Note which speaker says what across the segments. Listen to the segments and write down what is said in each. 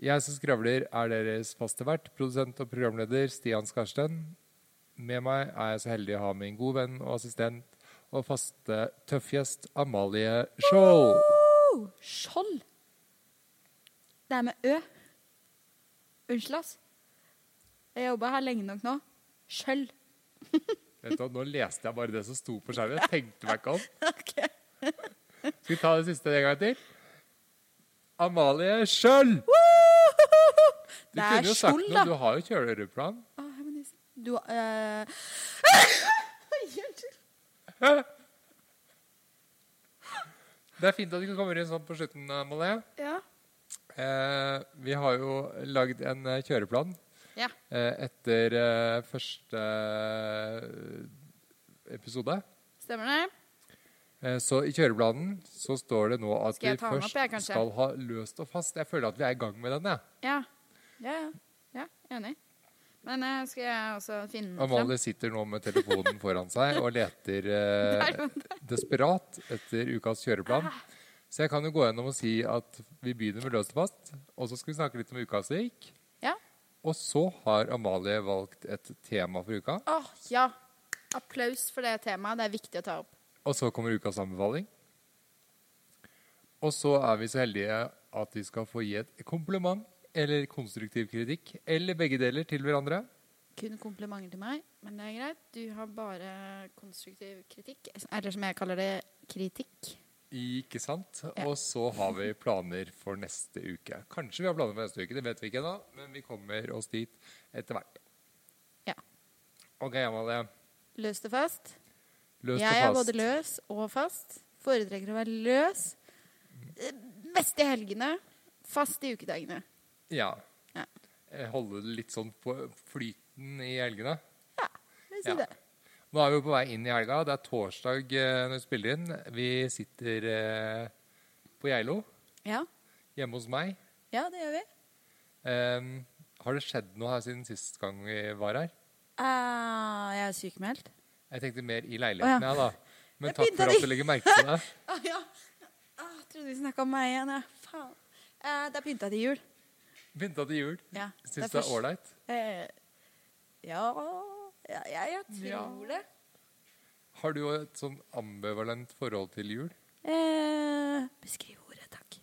Speaker 1: Jeg som skravler, er deres faste vert, produsent og programleder Stian Skarsten. Med meg er jeg så heldig å ha min gode venn og assistent og faste tøffgjest Amalie Skjold.
Speaker 2: Oh, Skjold. Det er med Ø. Unnskyld, ass. Jeg har jobba her lenge nok nå. Skjøll.
Speaker 1: Vet du hva, Nå leste jeg bare det som sto på skjermen. Jeg tenkte meg ikke om.
Speaker 2: Ok.
Speaker 1: Skal vi ta det siste en gang til? Amalie Skjold! Du
Speaker 2: Det
Speaker 1: kunne
Speaker 2: er
Speaker 1: jo sagt
Speaker 2: Skjold,
Speaker 1: noe.
Speaker 2: da.
Speaker 1: Du har jo kjørereplan.
Speaker 2: Å, jeg må nisse. Du eh, Oi, Unnskyld.
Speaker 1: Det er fint at du kommer inn sånn på slutten, Amalie.
Speaker 2: Ja.
Speaker 1: Eh, vi har jo lagd en eh, kjøreplan
Speaker 2: Ja.
Speaker 1: eh, etter eh, første eh, episode.
Speaker 2: Stemmer det?
Speaker 1: Eh, så i kjøreplanen så står det nå at
Speaker 2: Skal
Speaker 1: vi
Speaker 2: jeg ta den opp,
Speaker 1: først
Speaker 2: jeg, kanskje?
Speaker 1: skal ha løst og fast. Jeg føler at vi er i gang med den. jeg.
Speaker 2: Ja. Ja, ja. ja enig. Men eh, skal jeg også finne den fram?
Speaker 1: Amalie sitter nå med telefonen foran seg og leter
Speaker 2: Der,
Speaker 1: eh,
Speaker 2: men det Ah.
Speaker 1: desperat etter ukas kjøreplan. Så jeg kan jo gå gjennom og si at vi begynner med løst og fast, og så skal vi snakke litt om uka som gikk.
Speaker 2: Ja.
Speaker 1: Og så har Amalie valgt et tema for uka,
Speaker 2: Åh, ja. Applaus for det temaet. Det er viktig å ta opp.
Speaker 1: og så kommer ukas anbefaling. Og så er vi så heldige at vi skal få gi et kompliment eller konstruktiv kritikk, eller begge deler, til hverandre.
Speaker 2: Kun komplimenter til meg, men det er greit. Du har bare konstruktiv kritikk. Eller som jeg kaller det, kritikk.
Speaker 1: Ikke sant?
Speaker 2: Ja.
Speaker 1: Og så har vi planer for neste uke. Kanskje vi har planer for neste uke, det vet vi ikke ennå. Men vi kommer oss dit etter hvert.
Speaker 2: Ja.
Speaker 1: OK, Amalie.
Speaker 2: Løs det fast.
Speaker 1: Løst
Speaker 2: jeg er
Speaker 1: og
Speaker 2: både
Speaker 1: fast.
Speaker 2: løs og fast. Foretrekker å være løs. Eh, Mest i helgene. Fast i ukedagene.
Speaker 1: Ja.
Speaker 2: Ja.
Speaker 1: Jeg Holde det litt sånn på flyten i helgene.
Speaker 2: Vil si
Speaker 1: Ja.
Speaker 2: det.
Speaker 1: Nå er vi jo på vei inn i helga. Det er torsdag eh, når vi spiller inn. Vi sitter eh, på Geilo,
Speaker 2: Ja.
Speaker 1: hjemme hos meg.
Speaker 2: ja, det gjør vi.
Speaker 1: Em, har det skjedd noe her siden sist gang vi var her?
Speaker 2: Ah, jeg er sykemeldt.
Speaker 1: Jeg tenkte mer i
Speaker 2: Å,
Speaker 1: leiligheten,
Speaker 2: ja.
Speaker 1: jeg, da. Men
Speaker 2: Jeg
Speaker 1: takk
Speaker 2: pynta
Speaker 1: for at
Speaker 2: de.
Speaker 1: du legger merke til det.
Speaker 2: Ah, ja. ah, trodde vi snakka om meg igjen. Ja. Faen. Eh, det er pynta til jul.
Speaker 1: Pynta til jul.
Speaker 2: Ja,
Speaker 1: Syns du det er
Speaker 2: først-
Speaker 1: ålreit?
Speaker 2: Eh, ja, ja, ja jeg tror det.
Speaker 1: Har du jo et sånn ambivalent forhold til jul?
Speaker 2: Eh, beskriv ordet, takk.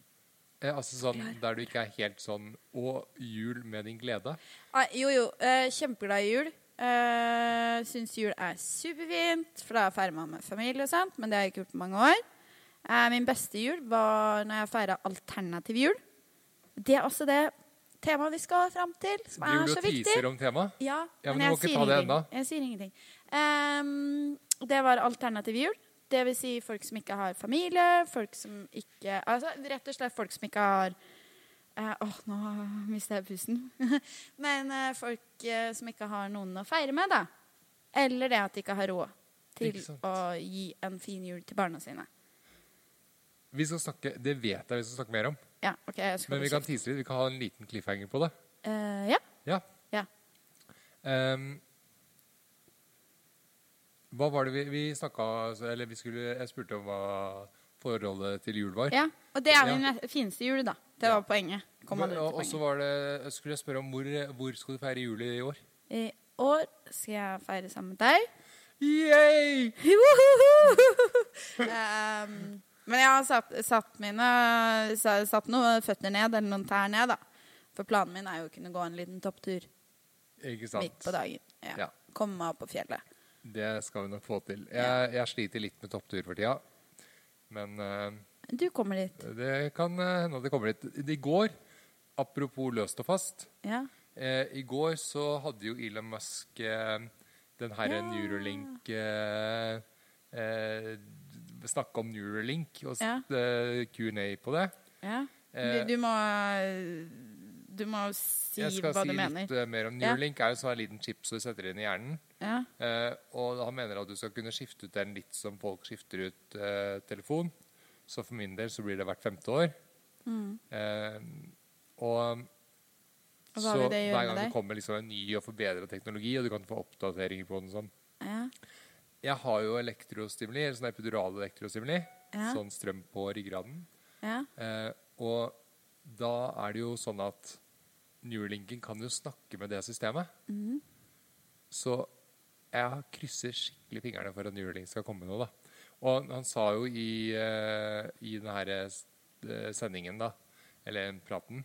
Speaker 1: Eh, altså sånn der du ikke er helt sånn Å, jul med din glede.
Speaker 2: Nei, jo, jo. Eh, kjempeglad i jul. Eh, Syns jul er superfint, for da feirer man med familie og sånt. Men det har jeg ikke gjort på mange år. Eh, min beste jul var når jeg feira alternativ jul. Det er også det temaet vi skal fram til, som
Speaker 1: Du
Speaker 2: er
Speaker 1: gjorde
Speaker 2: så
Speaker 1: jo
Speaker 2: viktig.
Speaker 1: teaser om temaet.
Speaker 2: Ja,
Speaker 1: Ja, men
Speaker 2: men
Speaker 1: du
Speaker 2: jeg
Speaker 1: må ikke
Speaker 2: sier
Speaker 1: ta det
Speaker 2: ingenting.
Speaker 1: ennå.
Speaker 2: Jeg sier ingenting. Ehm, det var alternativ jul. Det vil si folk som ikke har familie, folk som ikke Altså rett og slett folk som ikke har eh, Åh, nå mista jeg pusten. men eh, folk eh, som ikke har noen å feire med, da. Eller det at de ikke har råd til
Speaker 1: Ikke sant.
Speaker 2: å gi en fin jul til barna sine.
Speaker 1: Vi skal snakke, Det vet jeg vi skal snakke mer om,
Speaker 2: Ja, ok, jeg skal
Speaker 1: men vi kan tease litt. Vi kan ha en liten cliffhanger på det.
Speaker 2: Eh, ja.
Speaker 1: Ja.
Speaker 2: Ja.
Speaker 1: Ehm, hva var det vi, vi snakka Eller vi skulle, jeg spurte om hva forholdet til jul var.
Speaker 2: ja. Og det er
Speaker 1: Ja.
Speaker 2: min fineste jul, da. Det
Speaker 1: Ja.
Speaker 2: var poenget. Kom
Speaker 1: Men-
Speaker 2: aldri til
Speaker 1: og så
Speaker 2: poenget.
Speaker 1: var det, skulle jeg spørre om hvor, hvor skal du feire jul i år?
Speaker 2: I år skal jeg feire sammen med deg.
Speaker 1: Yay!
Speaker 2: Wohoho! um, men jeg har satt, satt, mine, sa- satt noen føtter ned, eller noen tær ned, da. For planen min er jo å kunne gå en liten topptur
Speaker 1: Ikke sant?
Speaker 2: midt på dagen. Ja.
Speaker 1: Ja.
Speaker 2: Komme meg opp på fjellet.
Speaker 1: Det skal vi nok få til. Jeg, jeg sliter litt med topptur for tida. Men eh,
Speaker 2: Du kommer dit.
Speaker 1: det kan eh, hende at det kommer litt. I går, apropos løst og fast
Speaker 2: Ja.
Speaker 1: eh, I går så hadde jo Elon Musk eh, den herre
Speaker 2: Ja.
Speaker 1: Neuralink eh, eh, Snakke om Neuralink og eh,
Speaker 2: Ja.
Speaker 1: ja. Q&A på det.
Speaker 2: ja. Du,
Speaker 1: Eh,
Speaker 2: du må Du må si
Speaker 1: jeg skal
Speaker 2: hva
Speaker 1: si
Speaker 2: du
Speaker 1: litt
Speaker 2: mener.
Speaker 1: eh, mer om
Speaker 2: Ja.
Speaker 1: Neuralink. er jo sånn en liten chip som du setter inn i hjernen.
Speaker 2: Ja.
Speaker 1: Eh, og han mener at du skal kunne skifte ut den litt som folk skifter ut eh, telefon. Så for min del så blir det hvert femte år.
Speaker 2: Mm.
Speaker 1: Eh, og
Speaker 2: Og hva
Speaker 1: så
Speaker 2: vil det gjøre
Speaker 1: hver
Speaker 2: med
Speaker 1: gang det
Speaker 2: deg?
Speaker 1: kommer liksom en ny og forbedra teknologi, og du kan få oppdateringer på den sånn
Speaker 2: ja.
Speaker 1: Jeg har jo elektrostimuli, eller sånn epidural elektrostimuli.
Speaker 2: Ja.
Speaker 1: Sånn strøm på ryggraden.
Speaker 2: ja.
Speaker 1: Eh, og da er det jo sånn at Neuralink'en kan jo snakke med det systemet.
Speaker 2: Mhm.
Speaker 1: Så jeg krysser skikkelig fingrene for at Neuralink skal komme med noe, da. Og han sa jo i, eh, i den her eh, sendingen, da, eller praten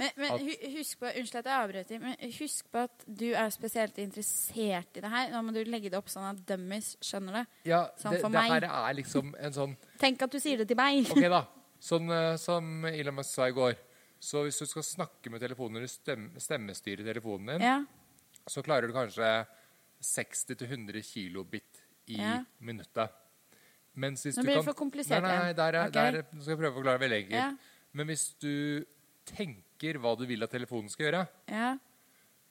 Speaker 2: Men, men
Speaker 1: At-
Speaker 2: hu- husk på, Unnskyld at jeg avbrøt, deg, men husk på at du er spesielt interessert i det her. Nå må du legge det opp sånn at dummies skjønner det.
Speaker 1: Ja,
Speaker 2: Sånn
Speaker 1: det,
Speaker 2: for
Speaker 1: det
Speaker 2: meg.
Speaker 1: her er liksom en sånn
Speaker 2: Tenk at du sier det til meg.
Speaker 1: Ok, da. Sånn eh, som Elon Musk sa i går. Så hvis du skal snakke med telefonen når du stem- stemmestyrer telefonen din,
Speaker 2: Ja.
Speaker 1: så klarer du kanskje 60-100 kilobit i
Speaker 2: Ja.
Speaker 1: minuttet. Mens hvis
Speaker 2: Nå
Speaker 1: du
Speaker 2: blir det
Speaker 1: kan...
Speaker 2: for komplisert
Speaker 1: Nei, nei,
Speaker 2: igjen.
Speaker 1: der er,
Speaker 2: Ok.
Speaker 1: der, nå skal jeg prøve å forklare veldig enkelt.
Speaker 2: Ja.
Speaker 1: Men hvis du tenker hva du vil at telefonen skal gjøre,
Speaker 2: ja.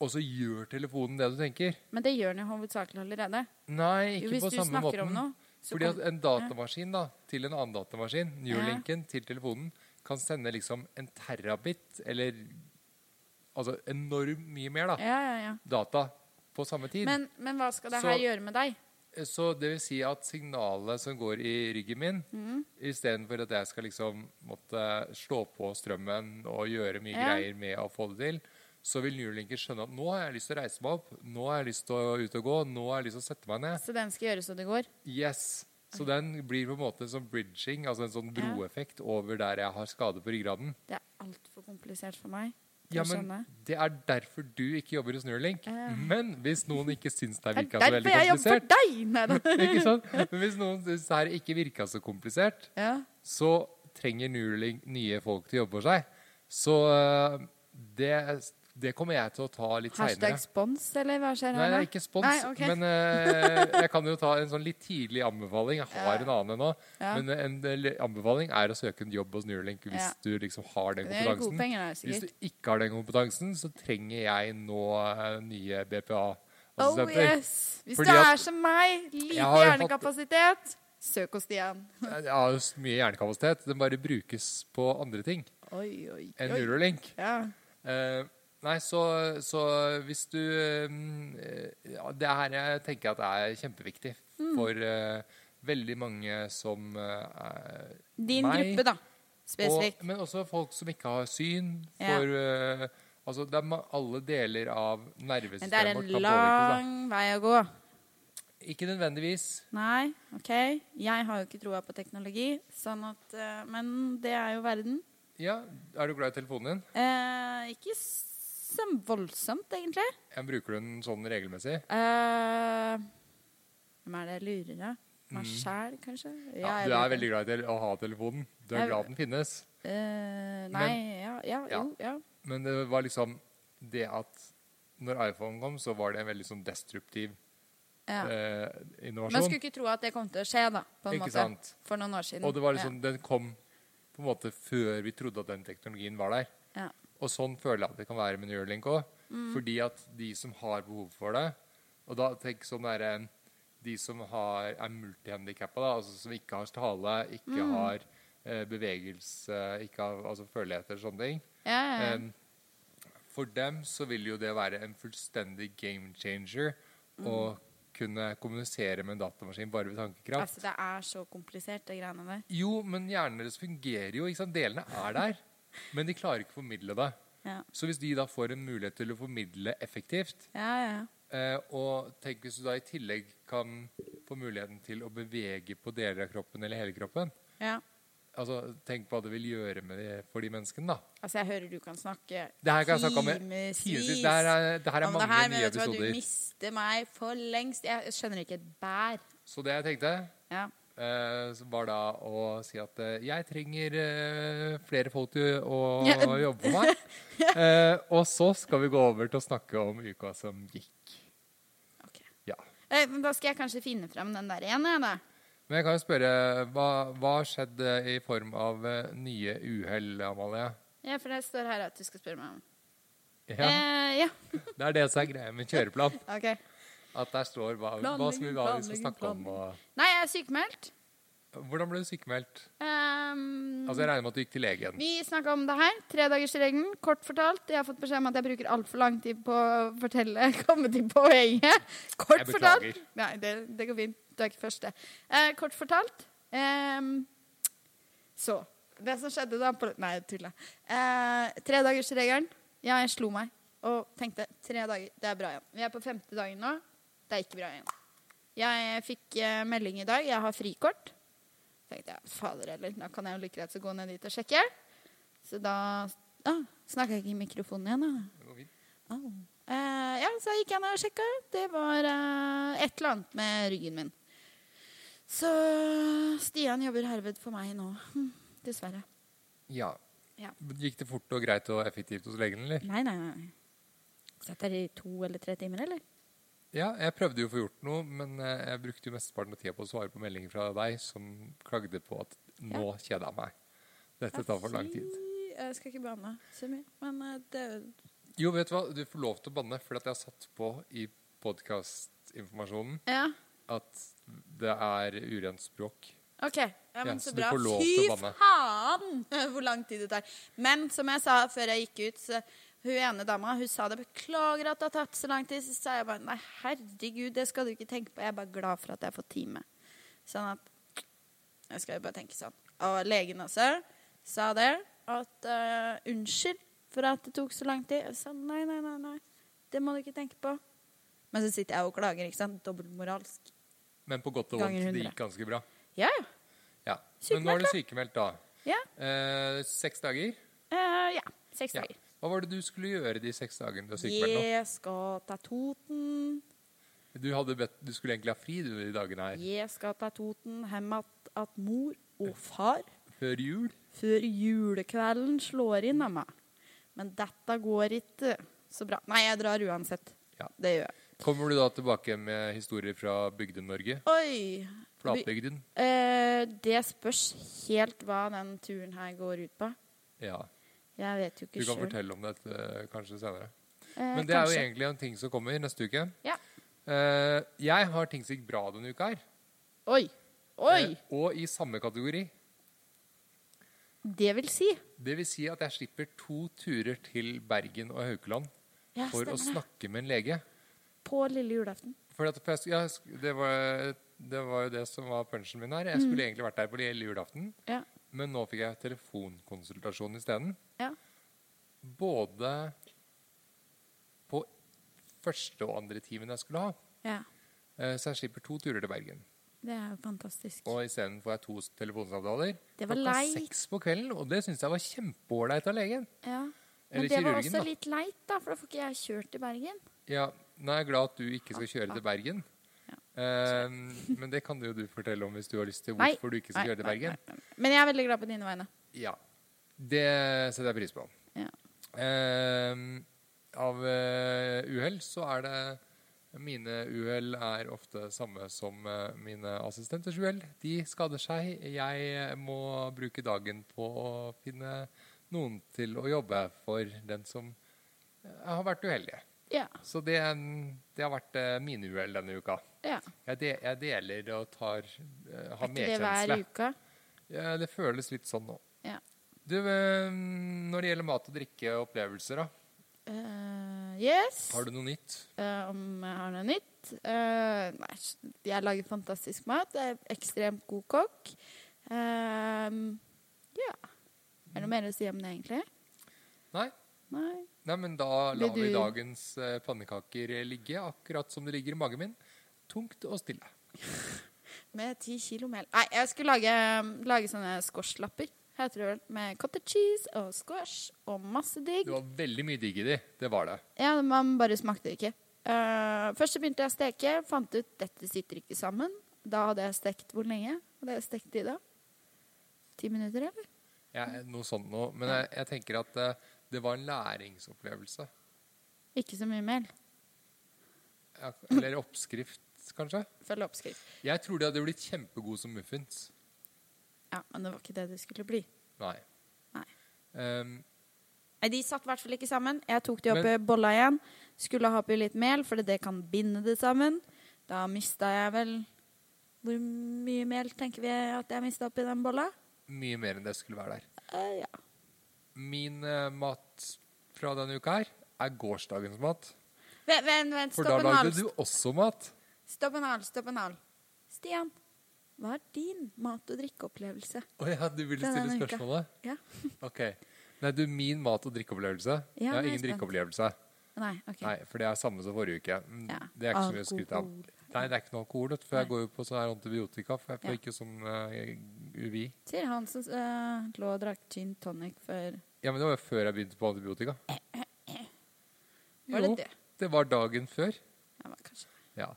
Speaker 1: og så gjør telefonen det du tenker
Speaker 2: Men det gjør den jo hovedsakelig allerede.
Speaker 1: Nei,
Speaker 2: Jo,
Speaker 1: ikke
Speaker 2: hvis
Speaker 1: på
Speaker 2: du
Speaker 1: samme
Speaker 2: snakker
Speaker 1: måten.
Speaker 2: om noe, så
Speaker 1: Fordi at
Speaker 2: kom-
Speaker 1: en datamaskin da, til en annen datamaskin, Neurlinken til telefonen, kan sende liksom en terabit, eller altså enormt mye mer, da,
Speaker 2: Ja, ja, ja.
Speaker 1: data på samme tid.
Speaker 2: Men, men hva skal det
Speaker 1: Så-
Speaker 2: her gjøre med deg?
Speaker 1: Så det vil si at signalet som går i ryggen min,
Speaker 2: Mm.
Speaker 1: istedenfor at jeg skal liksom måtte slå på strømmen og gjøre mye
Speaker 2: Ja.
Speaker 1: greier med å få det til, så vil Neurlinken skjønne at nå har jeg lyst til å reise meg opp, nå har jeg lyst til å ut og gå, nå har jeg lyst til å sette meg ned.
Speaker 2: Så den skal gjøre så det går?
Speaker 1: Yes. Så den blir på en måte en sånn bridging, altså en sånn broeffekt over der jeg har skade på ryggraden.
Speaker 2: Det er altfor komplisert for meg. til
Speaker 1: Ja,
Speaker 2: å
Speaker 1: men
Speaker 2: skjønne.
Speaker 1: Det er derfor du ikke jobber hos Neuralink.
Speaker 2: Ja.
Speaker 1: Men hvis noen ikke syns det
Speaker 2: Det
Speaker 1: her
Speaker 2: er
Speaker 1: virka så
Speaker 2: derfor
Speaker 1: veldig
Speaker 2: jeg jobber for
Speaker 1: komplisert
Speaker 2: deg! Neida.
Speaker 1: ikke sant? Men Hvis noen syns det her ikke virka så komplisert,
Speaker 2: Ja.
Speaker 1: så trenger Neuralink nye folk til å jobbe for seg. Så øh, det, det kommer jeg til å ta litt seinere.
Speaker 2: Hashtag spons, eller hva skjer
Speaker 1: Nei,
Speaker 2: her?
Speaker 1: det
Speaker 2: nå?
Speaker 1: er ikke spons,
Speaker 2: Nei, ok.
Speaker 1: men eh, jeg kan jo ta en sånn litt tidlig anbefaling. Jeg har en annen nå,
Speaker 2: Ja.
Speaker 1: men eh, en del anbefaling er å søke en jobb hos Neuralink hvis
Speaker 2: Ja.
Speaker 1: du liksom har den
Speaker 2: Det er gode
Speaker 1: kompetansen.
Speaker 2: penger der,
Speaker 1: Hvis
Speaker 2: sikkert.
Speaker 1: du ikke har den kompetansen, så trenger jeg nå eh, nye
Speaker 2: Oh
Speaker 1: BPA-assistenter.
Speaker 2: yes!
Speaker 1: Altså,
Speaker 2: Hvis
Speaker 1: Fordi
Speaker 2: du
Speaker 1: at-
Speaker 2: er som meg,
Speaker 1: Jeg
Speaker 2: lite
Speaker 1: har hatt-
Speaker 2: hjernekapasitet, søk hos Stian.
Speaker 1: Jeg har jo så mye hjernekapasitet. Den bare brukes på andre ting
Speaker 2: Oi, oi,
Speaker 1: enn
Speaker 2: oi.
Speaker 1: Neuralink.
Speaker 2: Ja.
Speaker 1: Eh, nei, så, så hvis du eh, ja, Det her jeg tenker jeg at er kjempeviktig
Speaker 2: Mm.
Speaker 1: for eh, veldig mange som eh, er
Speaker 2: Din
Speaker 1: Meg.
Speaker 2: gruppe, da.
Speaker 1: og,
Speaker 2: Spesifikt.
Speaker 1: Men også folk som ikke har syn.
Speaker 2: Ja.
Speaker 1: For eh, altså, det er ma- alle deler av nervesystemet
Speaker 2: Men det er en
Speaker 1: vårt kan påvirkes.
Speaker 2: lang vei å gå.
Speaker 1: Da. Ikke nødvendigvis.
Speaker 2: Nei, OK. Jeg har jo ikke troa på teknologi, sånn at eh, Men det er jo verden.
Speaker 1: Ja, Er du glad i telefonen din?
Speaker 2: Eh, ikke så voldsomt, egentlig.
Speaker 1: Jeg bruker du den sånn regelmessig?
Speaker 2: Eh, hvem er det jeg lurer av? Meg sjæl, kanskje?
Speaker 1: Mm. Ja,
Speaker 2: jeg
Speaker 1: du er
Speaker 2: vet
Speaker 1: veldig glad i tel- å ha telefonen. Du er
Speaker 2: Jeg-
Speaker 1: glad den finnes.
Speaker 2: ikke. Eh, Nei, ja, ja,
Speaker 1: Ja.
Speaker 2: jo, ja.
Speaker 1: Men det var liksom det at når iPhone kom, så var det en veldig sånn destruktiv
Speaker 2: ja.
Speaker 1: eh,
Speaker 2: Man
Speaker 1: innovasjon.
Speaker 2: skulle ikke tro at det kom til å skje, da. På en
Speaker 1: Ikke
Speaker 2: måte.
Speaker 1: sant?
Speaker 2: For noen år siden.
Speaker 1: Og det var liksom, den kom på en måte før vi trodde at den teknologien var der.
Speaker 2: Ja.
Speaker 1: Og sånn føler jeg at det kan være med Neuralink òg.
Speaker 2: Mm.
Speaker 1: Fordi at de som har behov for det Og da tenk sånn der, eh, De som har, er multihandikappa, da, altså som ikke har tale, ikke
Speaker 2: Mm.
Speaker 1: har eh, bevegelse, ikke har altså føleligheter og sånne ting.
Speaker 2: ja. Ja, ja, ja.
Speaker 1: Em, for dem så vil jo det være en fullstendig game changer å kunne kommunisere med en datamaskin bare ved tankekraft.
Speaker 2: Altså, det er så komplisert, det greiene der.
Speaker 1: Jo, men hjernen deres fungerer jo. ikke sant? Delene er der, men de klarer ikke å formidle det.
Speaker 2: Ja,
Speaker 1: Så hvis de da får en mulighet til å formidle effektivt,
Speaker 2: ja, ja. ja.
Speaker 1: eh, og tenk hvis du da i tillegg kan få muligheten til å bevege på deler av kroppen eller hele kroppen
Speaker 2: ja.
Speaker 1: altså Tenk hva det vil gjøre med det for de menneskene, da.
Speaker 2: Altså, jeg hører du kan snakke
Speaker 1: Det her kan jeg snakke om i timevis. Det her er, det her er
Speaker 2: om
Speaker 1: mange
Speaker 2: det her, men
Speaker 1: nye
Speaker 2: vet du hva,
Speaker 1: episoder.
Speaker 2: du mister meg for lengst. Jeg skjønner ikke et bær.
Speaker 1: Så det jeg tenkte,
Speaker 2: Ja.
Speaker 1: eh, var da å si at eh, jeg trenger eh, flere folk til å
Speaker 2: Ja.
Speaker 1: å jobbe for meg. Eh, og så skal vi gå over til å snakke om uka som gikk.
Speaker 2: ok.
Speaker 1: Ja.
Speaker 2: Eh, men da skal jeg kanskje finne fram den der igjen, jeg, da.
Speaker 1: Men jeg kan jo spørre, hva, hva skjedde i form av eh, nye uhell, Amalie?
Speaker 2: Ja, for det står her at du skal spørre meg om.
Speaker 1: Ja,
Speaker 2: Eh, ja.
Speaker 1: det er det som er greia med kjøreplan.
Speaker 2: ok.
Speaker 1: At der står hva, hva,
Speaker 2: Planlegging,
Speaker 1: skal vi, hva vi skal
Speaker 2: planlegging,
Speaker 1: snakke om. Og,
Speaker 2: Nei, jeg er sykemeldt.
Speaker 1: hvordan ble du sykemeldt?
Speaker 2: Ehm,
Speaker 1: Altså, jeg regner med at du gikk til legen.
Speaker 2: vi snakka om det her. Tredagersregelen. Kort fortalt. Jeg har fått beskjed om at jeg bruker altfor lang tid på å fortelle, komme til poenget. Kort
Speaker 1: Jeg
Speaker 2: fortalt.
Speaker 1: beklager.
Speaker 2: Nei, det, det går fint. Du er ikke første. Eh, kort fortalt. ehm, så. Det som skjedde da på Nei, jeg tuller. Eh, tredagersregelen. Ja, jeg slo meg og tenkte tre dager, det er bra igjen. Vi er på femte dagen nå. Det er ikke bra igjen. Jeg fikk eh, melding i dag. Jeg har frikort. tenkte jeg, fader heller, da kan jeg jo like greit så gå ned dit og sjekke. Så da ah, snakka jeg ikke i mikrofonen igjen, da.
Speaker 1: Det går fint.
Speaker 2: Au. Eh, ja, så gikk jeg ned og sjekka. Det var eh, et eller annet med ryggen min. Så Stian jobber herved for meg nå. Hm, Dessverre.
Speaker 1: Ja.
Speaker 2: Ja.
Speaker 1: Gikk det fort og greit og effektivt hos legen, eller?
Speaker 2: Nei, nei, nei. Satt der i to eller tre timer, eller?
Speaker 1: Ja, jeg prøvde jo å få gjort noe, men eh, jeg brukte jo mesteparten av tida på å svare på meldinger fra deg som klagde på at nå kjeda jeg meg. Dette tar for lang tid.
Speaker 2: Jeg skal ikke banne så mye, men eh, det er jo-
Speaker 1: Jo, vet du hva? Du får lov til å banne, for at jeg har satt på i podkastinformasjonen
Speaker 2: Ja,
Speaker 1: at det er urent språk.
Speaker 2: OK. Ja, men
Speaker 1: Ja,
Speaker 2: så
Speaker 1: så du
Speaker 2: bra.
Speaker 1: får lov
Speaker 2: Fy
Speaker 1: til å banne.
Speaker 2: faen hvor lang tid det tar. Men som jeg sa før jeg gikk ut, så hun ene dama hun sa det. 'Beklager at det har tatt så lang tid.' Så sa jeg bare 'Nei, herregud, det skal du ikke tenke på.' Jeg er bare glad for at jeg får time. Sånn at Jeg skal jo bare tenke sånn. Og legen også sa det. At eh, 'Unnskyld for at det tok så lang tid.' Jeg sa nei, nei, nei, nei. Det må du ikke tenke på. Men så sitter jeg og klager, ikke sant? Dobbeltmoralsk.
Speaker 1: Men på godt og
Speaker 2: Ganger
Speaker 1: vondt. Det
Speaker 2: hundre.
Speaker 1: gikk ganske bra.
Speaker 2: Ja, ja.
Speaker 1: Ja. Men nå er du sykemeldt, da.
Speaker 2: Ja.
Speaker 1: Eh, seks dager?
Speaker 2: Eh, ja. Seks
Speaker 1: Ja.
Speaker 2: dager.
Speaker 1: Hva var det du skulle gjøre de seks dagene du er sykemeldt nå?
Speaker 2: Jeg skal ta Toten.
Speaker 1: Du, hadde bedt, du skulle egentlig ha fri du, de dagene her.
Speaker 2: Jeg skal ta Toten hjem at, at mor og far
Speaker 1: Før jul?
Speaker 2: før julekvelden slår inn av meg. Men dette går ikke så bra. Nei, jeg drar uansett.
Speaker 1: Ja.
Speaker 2: Det gjør jeg.
Speaker 1: Kommer du da tilbake med historier fra Bygde-Norge?
Speaker 2: Oi!
Speaker 1: Flatbygden?
Speaker 2: Eh, det spørs helt hva den turen her går ut på.
Speaker 1: Ja.
Speaker 2: Jeg vet jo
Speaker 1: Du
Speaker 2: ikke
Speaker 1: kan
Speaker 2: sjøl.
Speaker 1: fortelle om dette eh, kanskje senere.
Speaker 2: Eh,
Speaker 1: Men det er jo
Speaker 2: kanskje.
Speaker 1: egentlig en ting som kommer neste uke.
Speaker 2: Ja.
Speaker 1: Eh, jeg har ting som gikk bra denne uka her.
Speaker 2: Oi! Oi!
Speaker 1: Eh, og i samme kategori.
Speaker 2: Det vil si
Speaker 1: Det vil si at jeg slipper to turer til Bergen og Haukeland
Speaker 2: Ja,
Speaker 1: for å
Speaker 2: stemmer det.
Speaker 1: snakke med en lege.
Speaker 2: På lille julaften.
Speaker 1: Fordi at jeg sk- jeg sk- det, var, det var jo det som var punchen min her. Jeg skulle
Speaker 2: Mm.
Speaker 1: egentlig vært der på lille julaften,
Speaker 2: Ja.
Speaker 1: men nå fikk jeg telefonkonsultasjon isteden.
Speaker 2: Ja.
Speaker 1: Både på første og andre timen jeg skulle ha.
Speaker 2: ja.
Speaker 1: Eh, Så jeg slipper to turer til Bergen.
Speaker 2: Det er jo fantastisk.
Speaker 1: Og isteden får jeg to s- telefonsamtaler.
Speaker 2: Det var
Speaker 1: klokka
Speaker 2: leit.
Speaker 1: seks på kvelden, og det syns jeg var kjempeålreit av legen.
Speaker 2: Ja. Men
Speaker 1: Eller
Speaker 2: det var
Speaker 1: kirurgen,
Speaker 2: også
Speaker 1: da.
Speaker 2: litt leit, da, for da får ikke jeg kjørt til Bergen.
Speaker 1: Ja, nå er jeg glad at du ikke skal kjøre til Bergen.
Speaker 2: Ja.
Speaker 1: Eh, men det kan jo du fortelle om hvis du har lyst til
Speaker 2: Nei,
Speaker 1: hvorfor du ikke skal
Speaker 2: nei,
Speaker 1: kjøre til
Speaker 2: nei,
Speaker 1: Bergen.
Speaker 2: nei, nei. Men jeg er veldig glad på dine vegne.
Speaker 1: Ja. Det setter jeg pris på.
Speaker 2: Ja.
Speaker 1: Eh, av eh, uhell så er det Mine uhell er ofte samme som eh, mine assistenters uhell. De skader seg. Jeg må bruke dagen på å finne noen til å jobbe for den som eh, har vært uheldig.
Speaker 2: Ja,
Speaker 1: Så det, er en- det har vært eh, mine uhell denne uka.
Speaker 2: ja.
Speaker 1: Jeg, de, jeg deler og tar, eh,
Speaker 2: Er
Speaker 1: har
Speaker 2: ikke det hver
Speaker 1: medkjensle.
Speaker 2: uke?
Speaker 1: Ja, det føles litt sånn nå.
Speaker 2: Ja.
Speaker 1: Du, eh, når det gjelder mat og drikke og opplevelser, da,
Speaker 2: Eh, yes.
Speaker 1: har du noe nytt?
Speaker 2: Eh, om jeg har noe nytt? Eh, nei, jeg lager fantastisk mat. Jeg er ekstremt god kokk. Eh, ja. Er det noe mer å si om det, egentlig?
Speaker 1: Nei?
Speaker 2: Nei.
Speaker 1: Nei, men da
Speaker 2: Vil
Speaker 1: lar vi
Speaker 2: du-
Speaker 1: dagens eh, pannekaker ligge akkurat som det ligger i magen min. Tungt og stille.
Speaker 2: Med ti kilo mel. Nei, jeg skulle lage, lage sånne squashlapper. Heter det vel. Med cottage cheese og squash og masse digg.
Speaker 1: Det var veldig mye digg i de. Det var det.
Speaker 2: Ja, man bare smakte det ikke. Eh, først så begynte jeg å steke, fant ut dette sitter ikke sammen. Da hadde jeg stekt hvor lenge? Hadde jeg stekt i da? Ti minutter, eller?
Speaker 1: Jeg, noe sånt noe. Men jeg, jeg tenker at eh, det var en læringsopplevelse.
Speaker 2: Ikke så mye mel.
Speaker 1: Ja, Eller oppskrift, kanskje.
Speaker 2: Følg oppskrift.
Speaker 1: Jeg tror de hadde blitt kjempegode som muffins.
Speaker 2: Ja, men det var ikke det det skulle bli.
Speaker 1: Nei.
Speaker 2: Nei.
Speaker 1: Ehm,
Speaker 2: Nei, De satt i hvert fall ikke sammen. Jeg tok de opp i
Speaker 1: Men-
Speaker 2: bolla igjen. Skulle ha oppi litt mel, for det kan binde det sammen. Da mista jeg vel Hvor mye mel tenker vi at jeg mista oppi den bolla?
Speaker 1: mye mer enn det skulle være der.
Speaker 2: Eh, ja.
Speaker 1: Min eh, mat fra denne uka her er gårsdagens mat.
Speaker 2: Vent, vent, vent.
Speaker 1: For da
Speaker 2: Stopp en
Speaker 1: lagde
Speaker 2: halv.
Speaker 1: du også mat.
Speaker 2: Stopp en hal, stopp en hal. Stian, hva er din mat- og drikkeopplevelse?
Speaker 1: Å ja, du ville
Speaker 2: Det er
Speaker 1: stille
Speaker 2: denne uka.
Speaker 1: spørsmålet?
Speaker 2: Ja.
Speaker 1: Ok. Nei, du, min mat- og drikkeopplevelse.
Speaker 2: Ja,
Speaker 1: jeg har
Speaker 2: nå er jeg
Speaker 1: ingen
Speaker 2: spent.
Speaker 1: drikkeopplevelse.
Speaker 2: Nei, OK.
Speaker 1: Nei, for det er samme som forrige uke. Mm,
Speaker 2: Ja.
Speaker 1: Det er ikke så mye å skryte av.
Speaker 2: Alkohol.
Speaker 1: Nei, det er ikke noe alkohol, vet du, for jeg
Speaker 2: Nei.
Speaker 1: går jo på sånn her antibiotika. For jeg får
Speaker 2: Ja.
Speaker 1: ikke sånn eh, UVI.
Speaker 2: Sier han som eh, lå og drakk gin tonic for
Speaker 1: Ja, men det var jo før jeg begynte på antibiotika.
Speaker 2: Var det
Speaker 1: Jo,
Speaker 2: det?
Speaker 1: det var dagen før.
Speaker 2: Ja, men kanskje.
Speaker 1: Ja.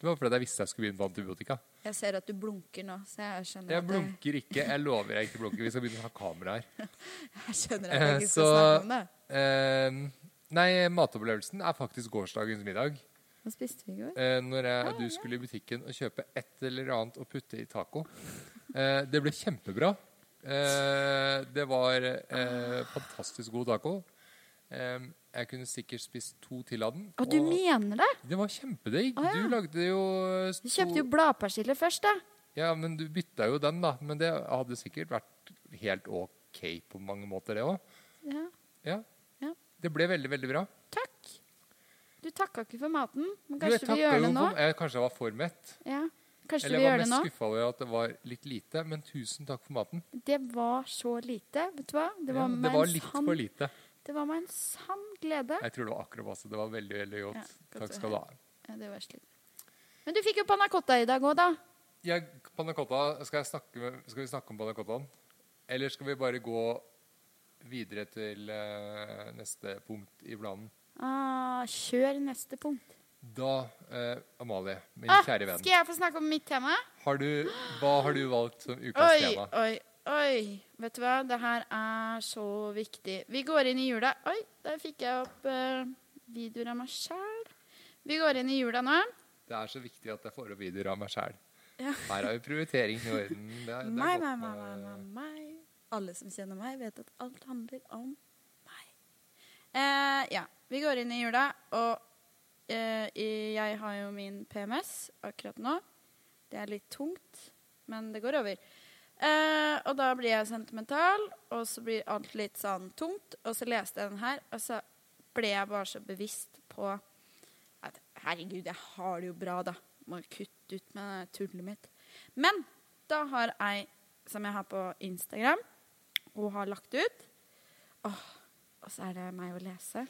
Speaker 1: Det var fordi jeg visste jeg skulle begynne på antibiotika.
Speaker 2: Jeg ser at du blunker nå, så jeg skjønner
Speaker 1: Jeg
Speaker 2: at det-
Speaker 1: blunker ikke. Jeg lover jeg ikke blunker. Vi skal begynne å ha kamera her.
Speaker 2: Jeg skjønner at jeg
Speaker 1: Eh,
Speaker 2: ikke skal
Speaker 1: så-
Speaker 2: snakke om det.
Speaker 1: Eh, nei, matopplevelsen er faktisk gårsdagens middag.
Speaker 2: Hva spiste vi i går?
Speaker 1: Eh, når jeg,
Speaker 2: Ah,
Speaker 1: du
Speaker 2: ja.
Speaker 1: skulle i butikken og kjøpe et eller annet å putte i taco. Eh, det ble kjempebra. Eh, det var eh, fantastisk god taco. Eh, jeg kunne sikkert spist to til av den.
Speaker 2: Å, du
Speaker 1: Eh, og
Speaker 2: mener det?
Speaker 1: det var kjempedigg.
Speaker 2: Å, ja.
Speaker 1: Du lagde jo
Speaker 2: Du kjøpte jo bladpersille først, da.
Speaker 1: Ja, men du bytta jo den, da. Men det hadde sikkert vært helt OK på mange måter, det òg.
Speaker 2: Ja.
Speaker 1: Ja.
Speaker 2: Ja.
Speaker 1: Det ble veldig, veldig bra.
Speaker 2: Takk. Du takka ikke for maten, men
Speaker 1: Du, jeg
Speaker 2: kanskje vi
Speaker 1: takket
Speaker 2: gjør
Speaker 1: jo
Speaker 2: det nå?
Speaker 1: for- Jeg, kanskje jeg var for mett.
Speaker 2: Ja. Kanskje
Speaker 1: Eller
Speaker 2: vi
Speaker 1: jeg var
Speaker 2: gjør det
Speaker 1: mest
Speaker 2: nå?
Speaker 1: skuffa over at det var litt lite. Men tusen takk for maten.
Speaker 2: Det var så lite, vet du hva? Det var,
Speaker 1: ja,
Speaker 2: meg
Speaker 1: det
Speaker 2: en
Speaker 1: var litt
Speaker 2: sann,
Speaker 1: for lite.
Speaker 2: Det var meg en sann glede.
Speaker 1: Jeg tror det var akkurat passe. Det var veldig, veldig
Speaker 2: Ja,
Speaker 1: godt.
Speaker 2: godt
Speaker 1: takk
Speaker 2: å
Speaker 1: skal du ha.
Speaker 2: Ja, det var slik. Men du fikk jo panna cotta i dag òg, da.
Speaker 1: Jeg, panna cotta, skal, jeg snakke med, skal vi snakke om panna cottaen? Eller skal vi bare gå videre til eh, neste punkt i planen?
Speaker 2: Ah, kjør neste punkt.
Speaker 1: Da, eh, Amalie, min
Speaker 2: Ah,
Speaker 1: kjære venn,
Speaker 2: skal jeg få snakke om mitt tema?
Speaker 1: har du, hva har du valgt som ukas
Speaker 2: Oi,
Speaker 1: tema?
Speaker 2: oi, oi. Vet du hva? Det her er så viktig. Vi går inn i jula. Oi, der fikk jeg opp eh, videoer av meg sjæl. Vi går inn i jula nå.
Speaker 1: Det er så viktig at jeg får opp videoer av meg sjæl.
Speaker 2: Ja.
Speaker 1: Her har vi prioritering i orden. Det, er- det er
Speaker 2: Meg, meg,
Speaker 1: godt
Speaker 2: meg,
Speaker 1: med-
Speaker 2: meg, meg, meg. Alle som kjenner meg, vet at alt handler om meg. Eh, ja, vi går inn i jula, og eh, i- jeg har jo min PMS akkurat nå. Det er litt tungt, men det går over. Eh, og da blir jeg sentimental, og så blir alt litt sånn tungt. Og så leste jeg den her, og så ble jeg bare så bevisst på at herregud, jeg har det jo bra, da. Må jo kutte ut med det tullet mitt. Men da har ei som jeg har på Instagram, og har lagt ut Åh, Og så er det meg å lese.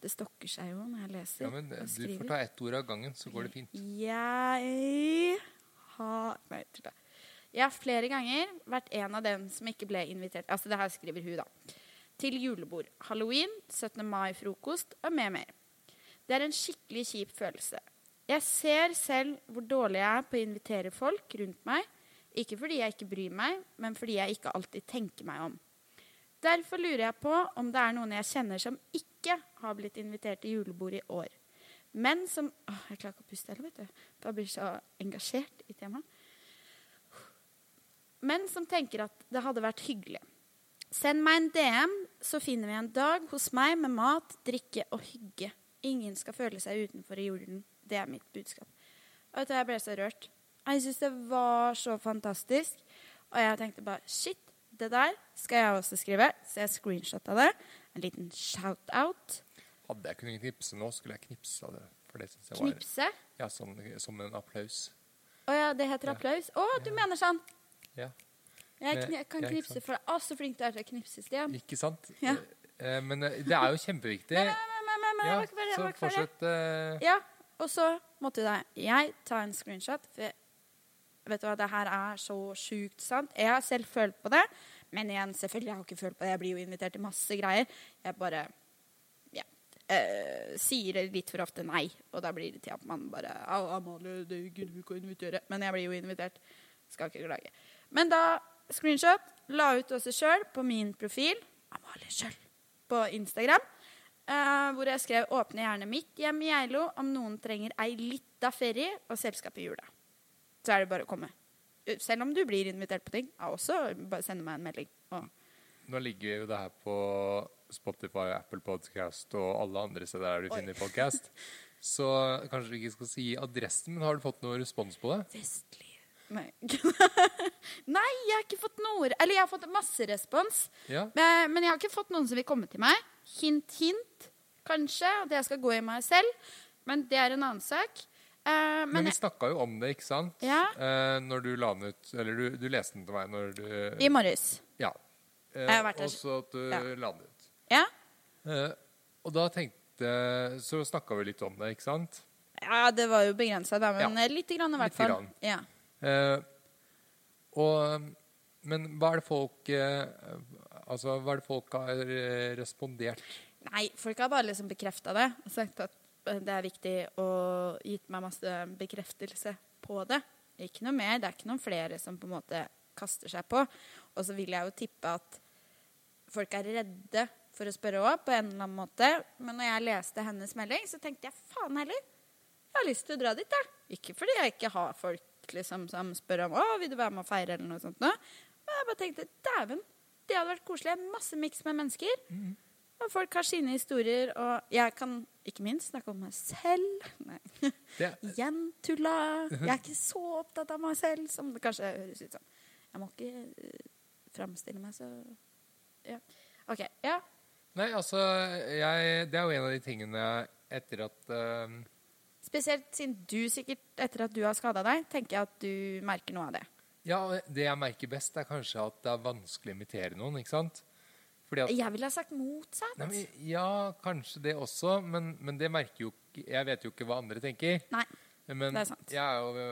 Speaker 2: Det stokker seg jo når jeg leser
Speaker 1: Ja, men eh,
Speaker 2: og
Speaker 1: du
Speaker 2: skriver.
Speaker 1: får ta ett ord av gangen, så går det fint.
Speaker 2: Jeg har Nei, tulla. Jeg har flere ganger vært en av dem som ikke ble invitert Altså, det her skriver hun, da. Til julebord, halloween, 17. mai-frokost og med mer. Det er en skikkelig kjip følelse. Jeg ser selv hvor dårlig jeg er på å invitere folk rundt meg. Ikke fordi jeg ikke bryr meg, men fordi jeg ikke alltid tenker meg om. Derfor lurer jeg på om det er noen jeg kjenner som ikke har blitt invitert til julebord i år. Men som Åh, jeg klarer ikke å puste heller, vet du. Da blir jeg så engasjert i temaet. Men som tenker at det hadde vært hyggelig. Send meg en DM, så finner vi en dag hos meg med mat, drikke og hygge. Ingen skal føle seg utenfor i julen. Det er mitt budskap. Og vet du, Jeg ble så rørt. Jeg syns det var så fantastisk. Og jeg tenkte bare shit, det der skal jeg også skrive. Så jeg screenshotta det. En liten shout-out.
Speaker 1: Hadde jeg kunnet knipse nå, skulle jeg knipsa det. For det synes jeg var
Speaker 2: Knipse.
Speaker 1: ja, som, som en applaus.
Speaker 2: Å ja, det heter
Speaker 1: Ja.
Speaker 2: applaus. Å, du mener sånn.
Speaker 1: Ja.
Speaker 2: Jeg
Speaker 1: Det-
Speaker 2: kni- kan
Speaker 1: ja, ikke
Speaker 2: knipse
Speaker 1: sant.
Speaker 2: for deg. Å, så flink du er til å knipse, Stian.
Speaker 1: Ikke sant?
Speaker 2: Ja.
Speaker 1: Eh, Men eh, det er jo kjempeviktig.
Speaker 2: Nei, nei, nei, nei, jeg
Speaker 1: Ja,
Speaker 2: var ikke ferdig, jeg
Speaker 1: så
Speaker 2: var ikke ferdig.
Speaker 1: fortsett. eh,
Speaker 2: Ja, og så måtte da jeg ta en screenshot. For jeg- vet du hva, det her er så sjukt sant. Jeg har selv følt på det. Men igjen, selvfølgelig, jeg har ikke følt på det. Jeg blir jo invitert til masse greier. Jeg bare ja, eh, sier litt for ofte nei. Og da blir det til at man bare «Au, Amalie, det gidder vi ikke å invitere. Men jeg blir jo invitert. Skal ikke klage. Men da screenshot la ut også sjøl på min profil, Amalie sjøl, på Instagram. Eh, hvor jeg skrev 'Åpne gjerne mitt hjem i Geilo om noen trenger ei lita ferie og selskap i jula'. Så er det bare å komme. Eh, Selv om du blir invitert på ting. Ja, også bare sende meg en melding. Og
Speaker 1: Nå ligger jo det her på Spotify, Apple Podcast og alle andre steder der du
Speaker 2: Oi.
Speaker 1: finner podcast. Så kanskje du ikke skal si adressen, men har du fått noe respons på det?
Speaker 2: Vestlig Nei. Nei, jeg har ikke fått noe Eller jeg har fått masse respons. Eh,
Speaker 1: Ja?
Speaker 2: Men men jeg har ikke fått noen som vil komme til meg. Hint, hint, kanskje. At jeg skal gå i meg selv. Men det er en annen sak. Eh,
Speaker 1: Men
Speaker 2: men
Speaker 1: vi snakka jo om det, ikke sant?
Speaker 2: Ja.
Speaker 1: Eh, Når du la den ut Eller du, du leste den til meg når du
Speaker 2: i morges.
Speaker 1: Ja. Eh,
Speaker 2: Jeg har vært der
Speaker 1: og så at du
Speaker 2: Ja.
Speaker 1: landet.
Speaker 2: Ja?
Speaker 1: Eh, og da tenkte Så snakka vi litt om det, ikke sant?
Speaker 2: ja, det var jo begrensa, da, men
Speaker 1: Ja.
Speaker 2: eh, lite grann i
Speaker 1: Lite
Speaker 2: hvert fall.
Speaker 1: grann.
Speaker 2: Ja.
Speaker 1: Eh, og, men hva er det folk eh, Altså, hva er det folk har eh, respondert?
Speaker 2: Nei, folk har bare liksom bekrefta det og sagt at eh, det er viktig og gitt meg masse bekreftelse på det. Ikke noe mer. Det er ikke noen flere som på en måte kaster seg på. Og så vil jeg jo tippe at folk er redde for å spørre òg, på en eller annen måte. Men når jeg leste hennes melding, så tenkte jeg faen heller. Jeg har lyst til å dra dit, jeg. Ikke fordi jeg ikke har folk liksom, som spør om å, vil du være med og feire eller noe sånt. Nå. Men jeg bare tenkte dæven, det hadde vært koselig. Masse miks med mennesker. Og folk har sine historier, og jeg kan ikke minst snakke om meg selv. Nei.
Speaker 1: Det,
Speaker 2: Igjen tulla. Jeg er ikke så opptatt av meg selv som det kanskje høres ut som. Jeg må ikke eh, framstille meg så ja. OK. Ja.
Speaker 1: nei, altså jeg, Det er jo en av de tingene etter at eh,
Speaker 2: Spesielt siden du sikkert, etter at du har skada deg, tenker jeg at du merker noe av det.
Speaker 1: Ja, det jeg merker best, er kanskje at det er vanskelig å invitere noen, ikke sant? Fordi at
Speaker 2: Jeg ville ha sagt motsatt.
Speaker 1: Nei, men, ja, kanskje det også, men, men det merker jo ikke Jeg vet jo ikke hva andre tenker.
Speaker 2: Nei.
Speaker 1: Eh, Men
Speaker 2: det er sant.
Speaker 1: jeg er jo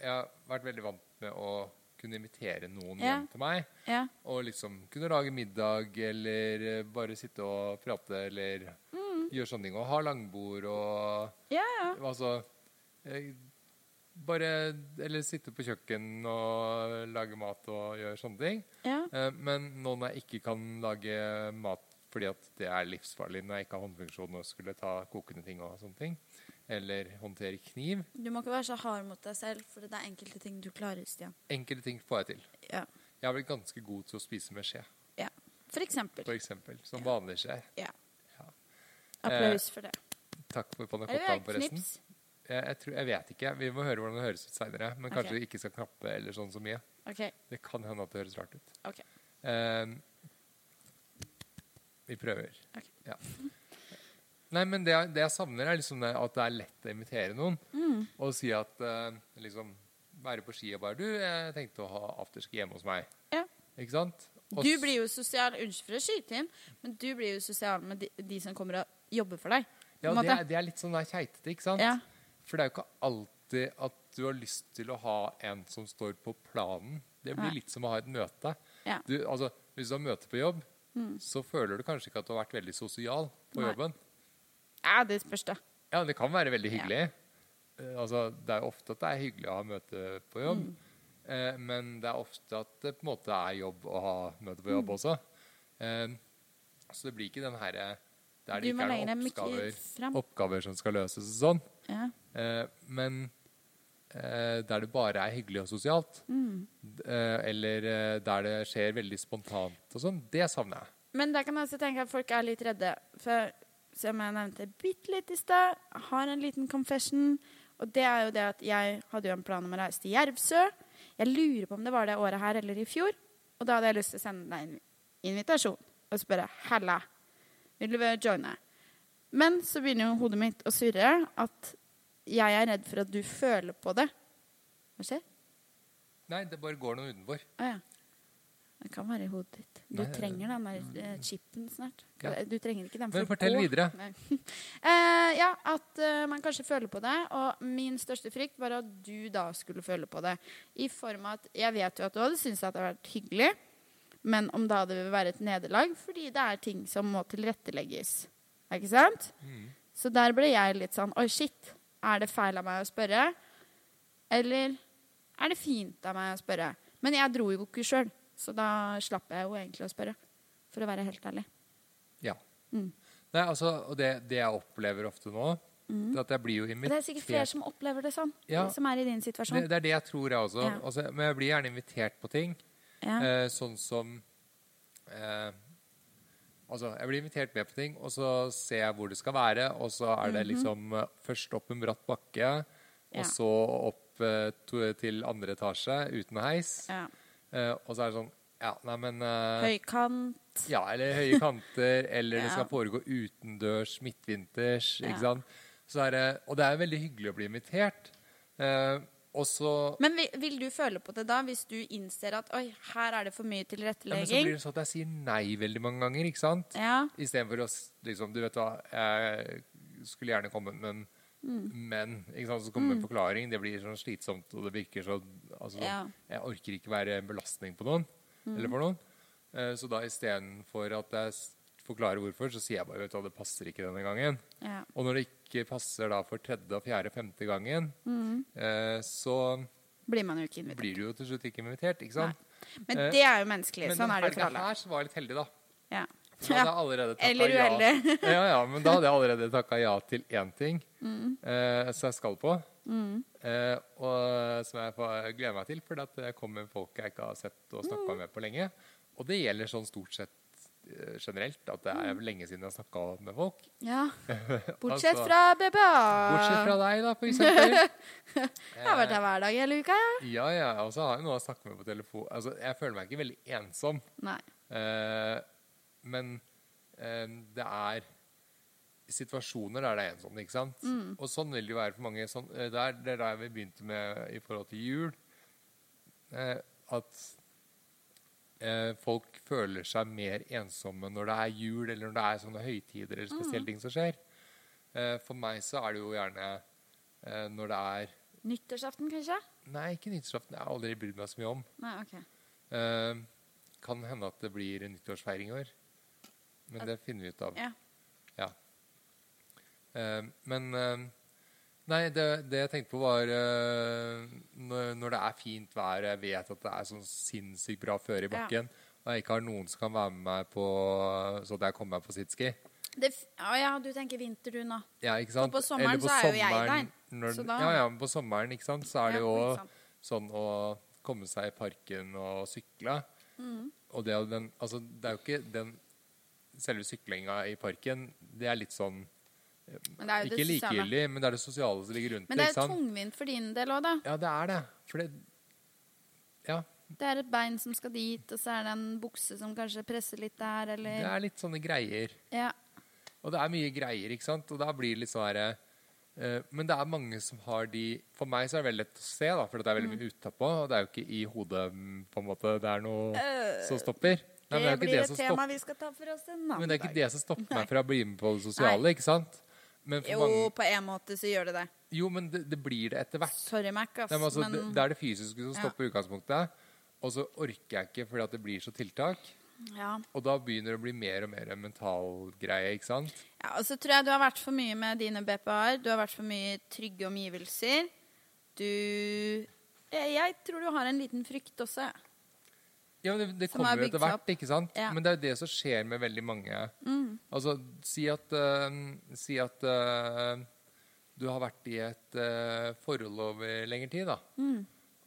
Speaker 1: Jeg har vært veldig vant med å kunne invitere noen
Speaker 2: Ja.
Speaker 1: hjem til meg.
Speaker 2: Ja.
Speaker 1: Og liksom kunne lage middag, eller eh, bare sitte og prate, eller
Speaker 2: Mm.
Speaker 1: gjøre sånne ting. Og ha langbord og
Speaker 2: Ja, ja.
Speaker 1: Altså eh, Bare Eller sitte på kjøkken og lage mat og gjøre sånne ting.
Speaker 2: ja.
Speaker 1: Eh, Men nå når jeg ikke kan lage mat fordi at det er livsfarlig når jeg ikke har håndfunksjon og skulle ta kokende ting og sånne ting, eller håndtere kniv
Speaker 2: Du må ikke være så hard mot deg selv, for det er enkelte ting du klarer, Stian.
Speaker 1: Enkelte ting får jeg til.
Speaker 2: Ja.
Speaker 1: Jeg har blitt ganske god til å spise med skje,
Speaker 2: ja. For eksempel.
Speaker 1: for eksempel. Som vanlig skje.
Speaker 2: Ja.
Speaker 1: Ja.
Speaker 2: Applaus
Speaker 1: Eh,
Speaker 2: for det.
Speaker 1: Takk for
Speaker 2: Eller
Speaker 1: pannacottaen, forresten.
Speaker 2: knips.
Speaker 1: Jeg, jeg, tror, jeg vet ikke. Vi må høre hvordan det høres ut seinere. Men
Speaker 2: Ok.
Speaker 1: kanskje vi ikke skal knappe eller sånn så mye.
Speaker 2: OK.
Speaker 1: Det kan hende at det høres rart ut.
Speaker 2: ok.
Speaker 1: Eh, vi prøver.
Speaker 2: Ok.
Speaker 1: Ja. Nei, men det, jeg- det jeg savner, er liksom det, at det er lett å invitere noen.
Speaker 2: Mm.
Speaker 1: Og si at eh, liksom Være på ski og bare Du, jeg tenkte å ha afterski hjemme hos meg.
Speaker 2: Ja.
Speaker 1: Ikke sant? Og
Speaker 2: Du
Speaker 1: s-
Speaker 2: blir jo sosial Unnskyld for å skyte inn, men du blir jo sosial med de, de som kommer og jobber for deg. på
Speaker 1: ja, det,
Speaker 2: en måte.
Speaker 1: er, det er litt sånn der keitete, ikke sant?
Speaker 2: Ja.
Speaker 1: For det er jo ikke alltid at du har lyst til å ha en som står på planen. Det blir
Speaker 2: Nei.
Speaker 1: litt som å ha et møte.
Speaker 2: Ja. Mm.
Speaker 1: Du, altså, hvis du har møte på jobb, så føler du kanskje ikke at du har vært veldig sosial på
Speaker 2: Nei.
Speaker 1: jobben.
Speaker 2: ja, det spørs, da.
Speaker 1: Ja, det kan være veldig hyggelig. Eh, Altså, det er jo ofte at det er hyggelig å ha møte på jobb,
Speaker 2: Mm.
Speaker 1: eh, men det er ofte at det på en måte er jobb å ha møte
Speaker 2: Mm.
Speaker 1: på jobb også. Eh, så det blir ikke den herre der
Speaker 2: Du
Speaker 1: det ikke
Speaker 2: må
Speaker 1: er
Speaker 2: legge
Speaker 1: noen
Speaker 2: deg mye
Speaker 1: oppgaver,
Speaker 2: fram.
Speaker 1: oppgaver som skal løses og sånn.
Speaker 2: Ja.
Speaker 1: Eh, men eh, der det bare er hyggelig og sosialt,
Speaker 2: Mm.
Speaker 1: d- eh, eller eh, der det skjer veldig spontant og sånn, det savner jeg.
Speaker 2: Men der kan jeg også tenke at folk er litt redde. For som jeg nevnte bitte litt i stad, har en liten confession. Og det er jo det at jeg hadde jo en plan om å reise til Jervsø. Jeg lurer på om det var det året her eller i fjor. Og da hadde jeg lyst til å sende deg en invitasjon og spørre Halla, vil du joine? Men så begynner jo hodet mitt å surre at jeg er redd for at du føler på det. Hva skjer?
Speaker 1: Nei, det bare går noen utenfor.
Speaker 2: Å ja. Det kan være i hodet ditt. Du
Speaker 1: Nei, mm.
Speaker 2: trenger den der eh, chipen snart.
Speaker 1: Ja.
Speaker 2: Du trenger ikke den for
Speaker 1: Men
Speaker 2: å
Speaker 1: fortell
Speaker 2: gå.
Speaker 1: videre.
Speaker 2: Nei. Eh, ja, at eh, man kanskje føler på det. Og min største frykt var at du da skulle føle på det. I form av at jeg vet jo at du hadde syntes at det hadde vært hyggelig, men om da det vil være et nederlag fordi det er ting som må tilrettelegges. Er Ikke sant?
Speaker 1: Mm.
Speaker 2: Så der ble jeg litt sånn Oi, shit. Er det feil av meg å spørre? Eller er det fint av meg å spørre? Men jeg dro jo ikke sjøl, så da slapp jeg jo egentlig å spørre. For å være helt ærlig.
Speaker 1: Ja.
Speaker 2: Mm.
Speaker 1: Nei, altså, og det, det jeg opplever ofte nå, det er at jeg blir jo
Speaker 2: Mm. Og
Speaker 1: invitert
Speaker 2: det er sikkert flere som opplever det sånn,
Speaker 1: Ja.
Speaker 2: som er i din
Speaker 1: det,
Speaker 2: situasjon.
Speaker 1: det er det jeg tror, jeg også.
Speaker 2: Ja.
Speaker 1: Altså, men jeg blir gjerne invitert på ting.
Speaker 2: ja.
Speaker 1: Eh, sånn som eh, Altså, jeg blir invitert med på ting, og så ser jeg hvor det skal være, og så er det liksom eh, først opp en bratt bakke, og
Speaker 2: Mhm. Ja.
Speaker 1: så opp eh, to, til andre etasje uten heis.
Speaker 2: ja.
Speaker 1: Eh, og så er det sånn Ja, nei, men eh,
Speaker 2: Høykant.
Speaker 1: Ja, eller høye kanter, eller det
Speaker 2: Ja.
Speaker 1: skal foregå utendørs, midtvinters.
Speaker 2: Ja.
Speaker 1: ikke sant? Så er det, og det er veldig hyggelig å bli invitert. eh, Og så
Speaker 2: Men vil, vil du føle på det da, hvis du innser at oi, her er det for mye
Speaker 1: ja, men så blir
Speaker 2: tilrettelegging?
Speaker 1: det sånn at jeg sier nei veldig mange ganger, ikke sant?
Speaker 2: Ja.
Speaker 1: Istedenfor å s- liksom Du vet hva, jeg skulle gjerne kommet, men
Speaker 2: Mm.
Speaker 1: Men. ikke sant, Så kommer det en forklaring. Det blir sånn slitsomt, og det virker sånn altså, sånn,
Speaker 2: Ja. Mm.
Speaker 1: Jeg orker ikke være en belastning på noen. Eller for noen. Eh, Så da istedenfor at jeg s- forklarer hvorfor, så sier jeg bare vet du hva, det passer ikke denne gangen.
Speaker 2: ja.
Speaker 1: Og når det ikke passer da for tredje, og fjerde, og femte gangen,
Speaker 2: Mm.
Speaker 1: eh, så
Speaker 2: Blir man jo ikke invitert.
Speaker 1: blir du jo til slutt ikke invitert, ikke sant?
Speaker 2: Men
Speaker 1: Eh,
Speaker 2: det er jo menneskelig.
Speaker 1: Men
Speaker 2: Sånn
Speaker 1: den
Speaker 2: er det jo for
Speaker 1: helga
Speaker 2: alle.
Speaker 1: her så var jeg litt heldig, da.
Speaker 2: Ja.
Speaker 1: For Da hadde jeg allerede takket
Speaker 2: Eller uheldig.
Speaker 1: Ja. ja, ja, men da hadde jeg allerede takka ja til én ting
Speaker 2: Mm.
Speaker 1: eh, som jeg skal på. Eh, og som jeg får- gleder meg til, for at det kommer folk jeg ikke har sett og
Speaker 2: Mm.
Speaker 1: snakka med på lenge. Og det gjelder sånn stort sett eh, generelt, at det
Speaker 2: Mm.
Speaker 1: er lenge siden jeg har snakka med folk.
Speaker 2: Ja. Bortsett
Speaker 1: Altså,
Speaker 2: fra BBA.
Speaker 1: Bortsett fra deg, da, for eksempel.
Speaker 2: Jeg har vært her hver dag hele uka, jeg.
Speaker 1: Ja, ja. Og så har jeg noe å snakke med på telefon. Altså, jeg føler meg ikke veldig ensom.
Speaker 2: Nei.
Speaker 1: Eh, men eh, det er situasjoner der det er ensomt, ikke sant? Og sånn vil det jo være for mange. Sånn, eh, det er- det er der vi begynte med i forhold til jul. Eh, at eh, folk føler seg mer ensomme når det er jul, eller når det er sånne høytider eller spesielle ting som skjer. Eh, for meg så er det jo gjerne eh, når det er
Speaker 2: Nyttårsaften, kanskje?
Speaker 1: Nei, ikke nyttårsaften. Jeg har aldri brydd meg så mye om.
Speaker 2: Nei, ok.
Speaker 1: Eh, kan hende at det blir en nyttårsfeiring i år. Men det finner vi ut av.
Speaker 2: Ja.
Speaker 1: Ja. Eh, men eh, Nei, det, det jeg tenkte på, var eh, når, når det er fint vær, jeg vet at det er sånn sinnssykt bra føre i
Speaker 2: Ja.
Speaker 1: bakken, og jeg ikke har noen som kan være med meg på så at jeg kommer meg på sitski.
Speaker 2: Det, f- å ja, du tenker vinter, du nå.
Speaker 1: Ja, ikke sant?
Speaker 2: på sommeren så er jo jeg der,
Speaker 1: Når,
Speaker 2: så da-
Speaker 1: Ja, ja, men på sommeren ikke sant? så er det
Speaker 2: Ja,
Speaker 1: jo
Speaker 2: ikke sant.
Speaker 1: sånn å komme seg i parken og sykle.
Speaker 2: Mm.
Speaker 1: Og det, er jo den, altså, det er jo ikke den selve syklinga i parken Det er litt sånn
Speaker 2: Men det er jo
Speaker 1: Ikke
Speaker 2: det sosiale.
Speaker 1: likegyldig, men det er det sosiale som ligger rundt
Speaker 2: Men det er
Speaker 1: ikke
Speaker 2: jo
Speaker 1: sant?
Speaker 2: tungvint for din del òg, da.
Speaker 1: Ja, det er det. For det Ja.
Speaker 2: Det er et bein som skal dit, og så er det en bukse som kanskje presser litt der,
Speaker 1: Det
Speaker 2: eller
Speaker 1: er litt sånne greier.
Speaker 2: Ja.
Speaker 1: Og det er mye greier, ikke sant? Og da blir det litt sånn herre eh, Men det er mange som har de For meg så er det veldig lett å se, da, for det er veldig mye
Speaker 2: Mm.
Speaker 1: utapå. Og det er jo ikke i hodet mm, på en måte det er noe
Speaker 2: Eh,
Speaker 1: som stopper. Nei, men det er ikke det som stopper
Speaker 2: vi skal ta for oss en
Speaker 1: men det er ikke det som stopper meg fra å bli med på det sosiale, ikke sant? Men for
Speaker 2: Jo,
Speaker 1: mange,
Speaker 2: på en måte så gjør det det.
Speaker 1: jo, men det, det blir det etter hvert.
Speaker 2: Sorry, Mac, ass,
Speaker 1: Nei, men altså,
Speaker 2: men
Speaker 1: det, det er det fysiske som
Speaker 2: Ja.
Speaker 1: stopper utgangspunktet. Og så orker jeg ikke fordi at det blir så tiltak.
Speaker 2: ja.
Speaker 1: Og da begynner det å bli mer og mer en mental greie, ikke sant?
Speaker 2: ja. Og så tror jeg du har vært for mye med dine BPA-er. Du har vært for mye i trygge omgivelser. Du jeg, jeg tror du har en liten frykt også. jeg.
Speaker 1: Ja, men det, det
Speaker 2: Som er
Speaker 1: kommer jo etter
Speaker 2: bygd seg
Speaker 1: hvert, ikke sant?
Speaker 2: Ja. Mm.
Speaker 1: Men det er jo det som skjer med veldig mange. Altså, si at, eh, si at eh, du har vært i et eh, forhold over lengre tid, da.
Speaker 2: Mm.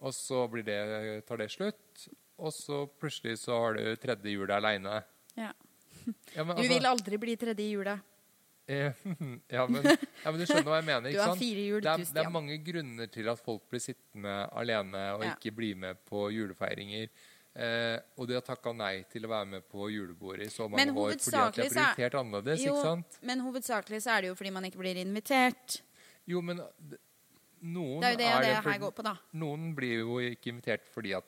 Speaker 1: Og så blir det, tar det slutt, og så plutselig så har du tredje jul aleine.
Speaker 2: Ja.
Speaker 1: Ja, men
Speaker 2: Du
Speaker 1: altså-
Speaker 2: vil aldri bli tredje i jula.
Speaker 1: Eh, ja, men, ja, men du skjønner hva jeg mener,
Speaker 2: Du
Speaker 1: ikke
Speaker 2: har
Speaker 1: sant?
Speaker 2: fire
Speaker 1: det,
Speaker 2: hjul, du,
Speaker 1: er, det er
Speaker 2: Stian.
Speaker 1: mange grunner til at folk blir sittende alene og
Speaker 2: Ja.
Speaker 1: ikke blir med på julefeiringer. Eh, og de har takka nei til å være med på julebordet i så mange
Speaker 2: Men
Speaker 1: år fordi at de
Speaker 2: hovedsakelig
Speaker 1: har
Speaker 2: så er-
Speaker 1: prioritert annerledes,
Speaker 2: Jo,
Speaker 1: ikke sant?
Speaker 2: men hovedsakelig så er det jo fordi man ikke blir invitert.
Speaker 1: Jo, men d- noen
Speaker 2: Det er jo det det
Speaker 1: for-
Speaker 2: her går på, da.
Speaker 1: Noen blir jo ikke invitert fordi at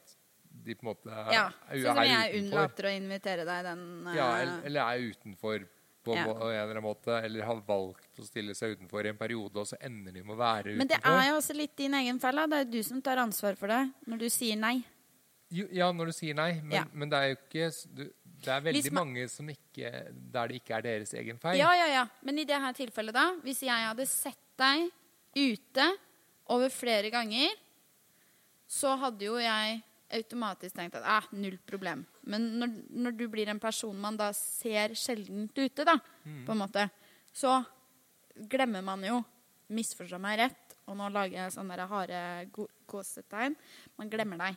Speaker 1: de på en måte er,
Speaker 2: Ja,
Speaker 1: er,
Speaker 2: Sånn som
Speaker 1: er
Speaker 2: jeg
Speaker 1: utenfor.
Speaker 2: unnlater å invitere deg den eh,
Speaker 1: Ja, eller, eller er utenfor på
Speaker 2: Ja.
Speaker 1: en eller annen måte, eller har valgt å stille seg utenfor i en periode, og så ender de med å være utenfor.
Speaker 2: Men det er jo også litt din egen feil. da. Det er jo du som tar ansvar for det når du sier nei.
Speaker 1: Jo, ja, når du sier nei, men,
Speaker 2: Ja.
Speaker 1: men det er jo ikke s- du, Det er
Speaker 2: Hvis
Speaker 1: veldig
Speaker 2: man-
Speaker 1: mange som ikke, der det ikke er deres egen feil.
Speaker 2: Ja, ja, ja. Men i det her tilfellet, da, hvis jeg hadde sett deg ute over flere ganger, så hadde jo jeg automatisk tenkt at eh, null problem. Men når, når du blir en person man da ser sjeldent ute, da, på en måte, så glemmer man jo Misforstå meg rett, og nå lager jeg sånne der harde gå- gåsetegn. Man glemmer deg.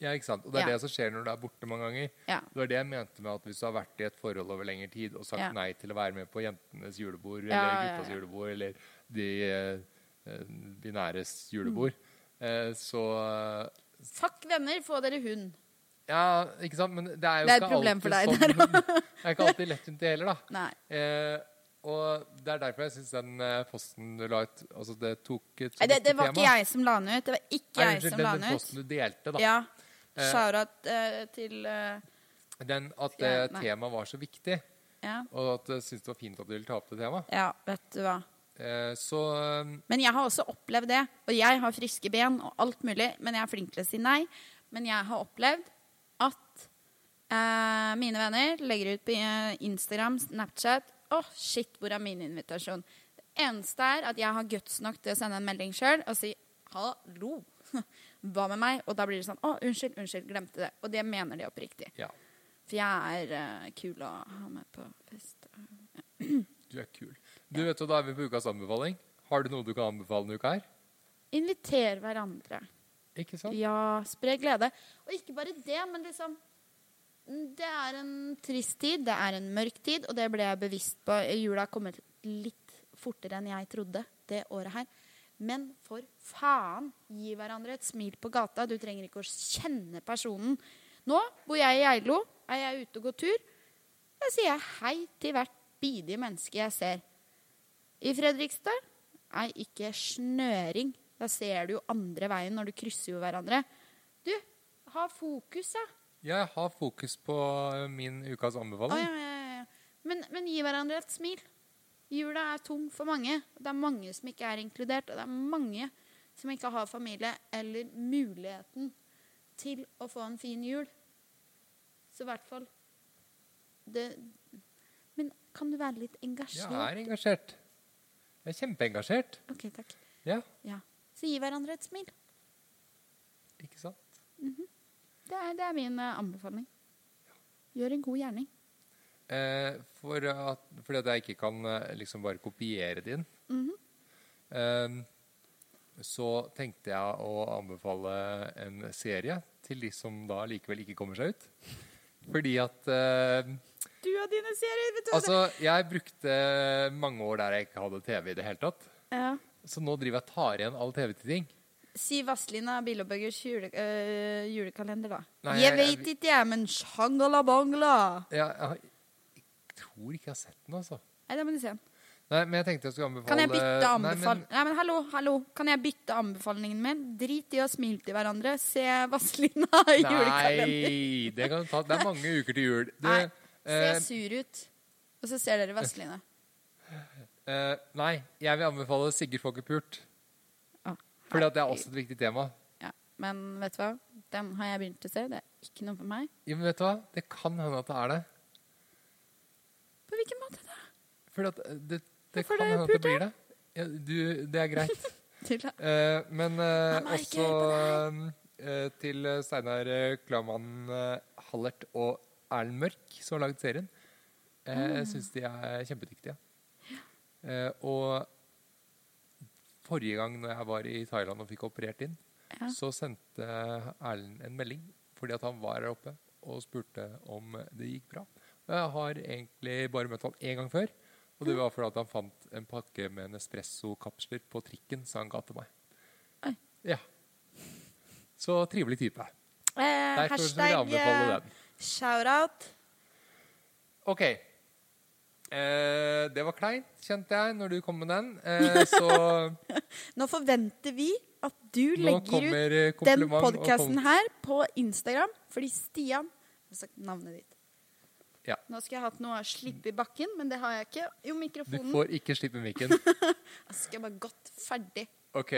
Speaker 1: Ja, ikke sant? Og det er
Speaker 2: Ja.
Speaker 1: det som skjer når du er borte mange ganger.
Speaker 2: Ja.
Speaker 1: Det var det jeg mente med at hvis du har vært i et forhold over lengre tid og sagt
Speaker 2: Ja.
Speaker 1: nei til å være med på jentenes julebord
Speaker 2: Ja,
Speaker 1: eller
Speaker 2: ja,
Speaker 1: guttas
Speaker 2: ja.
Speaker 1: julebord eller de eh, eh, binæres
Speaker 2: Mm.
Speaker 1: julebord, eh, så
Speaker 2: Fuck venner, få dere hund.
Speaker 1: Ja, ikke sant? Men det er jo
Speaker 2: Det er et
Speaker 1: ikke
Speaker 2: problem for
Speaker 1: alltid
Speaker 2: deg
Speaker 1: sånn. det er ikke alltid lettvint, det heller, da.
Speaker 2: Nei.
Speaker 1: Eh, Og det er derfor jeg syns den eh, posten du la ut altså Det tok et
Speaker 2: Nei, det, det var ikke jeg som la den ut. Det var ikke jeg som la
Speaker 1: den
Speaker 2: den ut.
Speaker 1: posten du delte, da.
Speaker 2: Ja.
Speaker 1: Eh,
Speaker 2: Shout-out eh, til eh,
Speaker 1: Den at det
Speaker 2: Ja, nei.
Speaker 1: temaet var så viktig,
Speaker 2: ja.
Speaker 1: og at jeg syntes det var fint at du ville ta opp det temaet.
Speaker 2: ja, vet du hva.
Speaker 1: Eh, Så eh,
Speaker 2: Men jeg har også opplevd det. Og jeg har friske ben og alt mulig, men jeg er flink til å si nei. Men jeg har opplevd at eh, mine venner legger ut på eh, Instagram, Snapchat Å, shit, hvor er min invitasjon? Det eneste er at jeg har guts nok til å sende en melding sjøl og si hallo. Hva med meg? Og da blir det sånn Å, unnskyld, unnskyld, glemte det. Og det mener de oppriktig.
Speaker 1: Ja,
Speaker 2: For jeg er eh, kul å ha med på fest.
Speaker 1: du er kul. Du vet jo, Da er vi på ukas anbefaling. Har du noe du kan anbefale denne uka her?
Speaker 2: Inviter hverandre.
Speaker 1: Ikke sant?
Speaker 2: Ja, spre glede. Og ikke bare det, men liksom Det er en trist tid, det er en mørk tid, og det ble jeg bevisst på. Jula har kommet litt fortere enn jeg trodde det året her. Men for faen, gi hverandre et smil på gata. Du trenger ikke å kjenne personen. Nå bor jeg i Geilo, er jeg ute og går tur. Da sier jeg hei til hvert bidige menneske jeg ser. I Fredrikstad er ikke snøring. Da ser du jo andre veien når du krysser jo hverandre. Du, ha fokus, da.
Speaker 1: Jeg har fokus på eh, min ukas
Speaker 2: Å,
Speaker 1: anbefaling.
Speaker 2: ja, ja, ja, ja. Men, men gi hverandre et smil. Jula er tung for mange. Det er mange som ikke er inkludert, og det er mange som ikke har familie eller muligheten til å få en fin jul. Så i hvert fall det Men kan du være litt engasjert?
Speaker 1: Jeg er engasjert. Jeg er kjempeengasjert.
Speaker 2: OK, takk.
Speaker 1: Ja,
Speaker 2: Ja. Så gi hverandre et smil.
Speaker 1: ikke sant?
Speaker 2: Det er, det er min eh, anbefaling. Gjør en god gjerning.
Speaker 1: Eh, for at, fordi at jeg ikke kan eh, liksom bare kopiere din, eh, så tenkte jeg å anbefale en serie til de som da likevel ikke kommer seg ut. Fordi at eh,
Speaker 2: Du og dine serier, vet du.
Speaker 1: Altså, jeg brukte mange år der jeg ikke hadde TV i det hele tatt.
Speaker 2: ja.
Speaker 1: Så nå driver jeg og tar igjen all TV til ting.
Speaker 2: Si Vazelina Billebøggers jule, øh, julekalender, da.
Speaker 1: Nei,
Speaker 2: jeg,
Speaker 1: jeg-
Speaker 2: vet ikke, jeg, men shangala-bangla.
Speaker 1: Jeg, jeg, har- jeg tror ikke jeg har sett den, altså.
Speaker 2: Nei, da må du se den.
Speaker 1: Nei, men jeg tenkte jeg skulle anbefale
Speaker 2: Kan jeg bytte
Speaker 1: Nei, men-
Speaker 2: anbefaling... Nei, men hallo, hallo. Kan jeg bytte anbefalingen min? Drit i å smile til hverandre. Se Vazelina i julekalender.
Speaker 1: Nei, det, kan ta, det er mange uker til jul. Du,
Speaker 2: Nei, Se
Speaker 1: eh,
Speaker 2: sur ut. Og så ser dere Vazelina.
Speaker 1: eh, nei, jeg vil anbefale Sigurd Fogge Pult.
Speaker 2: Ah,
Speaker 1: Fordi at det er også et viktig tema.
Speaker 2: Ja. Men vet du hva? Den har jeg begynt å se. Det er ikke noe for meg.
Speaker 1: Jo, men vet du hva? Det kan hende at det er det.
Speaker 2: På hvilken måte da?
Speaker 1: Fordi at eh, det, det
Speaker 2: Hvorfor
Speaker 1: kan
Speaker 2: det er
Speaker 1: hende at det
Speaker 2: pult,
Speaker 1: blir det. Ja, du, det er greit.
Speaker 2: Til,
Speaker 1: Eh, men eh,
Speaker 2: Mamma, ikke
Speaker 1: også eh, til eh, Steinar eh, Klaman eh, Hallert og Erlend Mørk, som har laget serien. Eh,
Speaker 2: Ah.
Speaker 1: Jeg syns de er kjempedyktige. Eh, og forrige gang når jeg var i Thailand og fikk operert inn,
Speaker 2: Ja.
Speaker 1: så sendte Erlend en melding fordi at han var her oppe og spurte om det gikk bra. Og Jeg har egentlig bare møtt han én gang før. Og det var fordi at han fant en pakke med Nespresso-kapsler på trikken, så han ga til meg.
Speaker 2: Oi.
Speaker 1: Ja. Så trivelig type.
Speaker 2: Eh,
Speaker 1: Derfor så vil jeg
Speaker 2: hashtag
Speaker 1: anbefale
Speaker 2: eh,
Speaker 1: den.
Speaker 2: shout-out.
Speaker 1: OK. Eh, det var kleint, kjente jeg, når du kom med den. Eh, så
Speaker 2: Nå forventer vi at du
Speaker 1: nå
Speaker 2: legger ut
Speaker 1: kommer eh,
Speaker 2: den
Speaker 1: kompliment og
Speaker 2: podkasten
Speaker 1: kom-
Speaker 2: her på Instagram, fordi Stian Jeg har sagt navnet ditt.
Speaker 1: Ja.
Speaker 2: Nå skulle jeg hatt noe å slippe i bakken, men det har jeg ikke. Jo,
Speaker 1: Du
Speaker 2: mikrofonen.
Speaker 1: får ikke slippe mikken.
Speaker 2: Jeg skal bare godt ferdig.
Speaker 1: OK.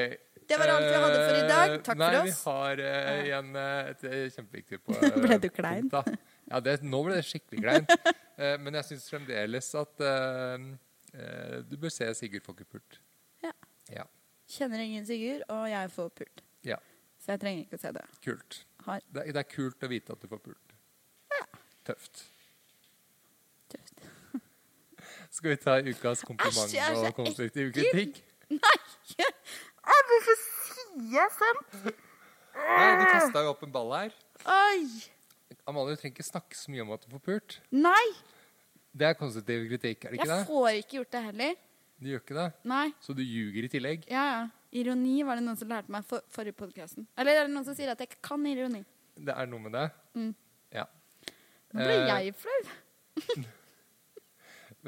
Speaker 2: Det var alt vi hadde for i dag. Takk
Speaker 1: Eh, nei, Nei,
Speaker 2: for oss.
Speaker 1: vi har eh, igjen eh, et eh, kjempeviktig på
Speaker 2: Ble du klein?
Speaker 1: punkt, da. Ja, det, nå ble det skikkelig kleint. Eh, men jeg syns fremdeles at eh, eh, du bør se Sigurd Fokkepult.
Speaker 2: Ja.
Speaker 1: Ja.
Speaker 2: Kjenner ingen Sigurd, og jeg får pult.
Speaker 1: ja.
Speaker 2: Så jeg trenger ikke å se det.
Speaker 1: Kult.
Speaker 2: Har
Speaker 1: Det, det er kult å vite at du får pult. Tøft.
Speaker 2: tøft.
Speaker 1: Skal vi ta ukas kompliment
Speaker 2: Æsj, jeg er så
Speaker 1: og konstruktiv kritikk?
Speaker 2: Å, hvorfor sier jeg sånn?
Speaker 1: Nei, du kasta jo opp en ball her.
Speaker 2: Oi!
Speaker 1: Amalie, du trenger ikke snakke så mye om at du får pult.
Speaker 2: Nei!
Speaker 1: Det er konstruktiv kritikk, er det ikke
Speaker 2: Jeg
Speaker 1: det?
Speaker 2: får ikke gjort det heller.
Speaker 1: Du gjør ikke det?
Speaker 2: Nei.
Speaker 1: Så du ljuger i tillegg?
Speaker 2: Ja, ja. Ironi var det noen som lærte meg for, forrige podkasten. Eller er det noen som sier at jeg ikke kan ironi?
Speaker 1: Det er
Speaker 2: Mm.
Speaker 1: noe med det? Ja.
Speaker 2: Nå ble
Speaker 1: Eh,
Speaker 2: jeg flau.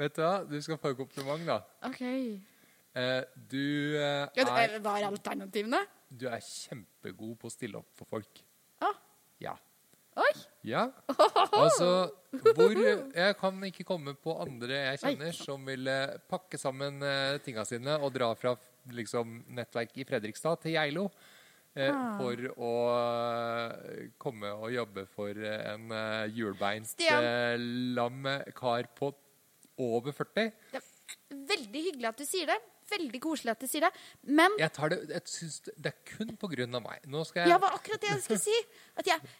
Speaker 1: Vet du hva? Du skal få en kompliment, da.
Speaker 2: OK.
Speaker 1: Eh, du, eh,
Speaker 2: Ja, det-
Speaker 1: er,
Speaker 2: hva er alternativene?
Speaker 1: du er kjempegod på å stille opp for folk.
Speaker 2: Å,
Speaker 1: Ja.
Speaker 2: oi!
Speaker 1: Ja. Altså, hvor Jeg kan ikke komme på andre jeg
Speaker 2: Nei.
Speaker 1: kjenner som ville pakke sammen eh, tinga sine og dra fra liksom, nettverk i Fredrikstad til Geilo eh,
Speaker 2: Ah.
Speaker 1: for å eh, komme og jobbe for eh, en eh, hjulbeint
Speaker 2: Stian.
Speaker 1: eh, lam kar på over 40.
Speaker 2: Det er veldig hyggelig at du sier det. Veldig koselig at du sier det. Men
Speaker 1: Jeg tar det, jeg syns det, det er kun på grunn av meg. Nå skal jeg
Speaker 2: Ja, det var akkurat det jeg skulle si. At jeg,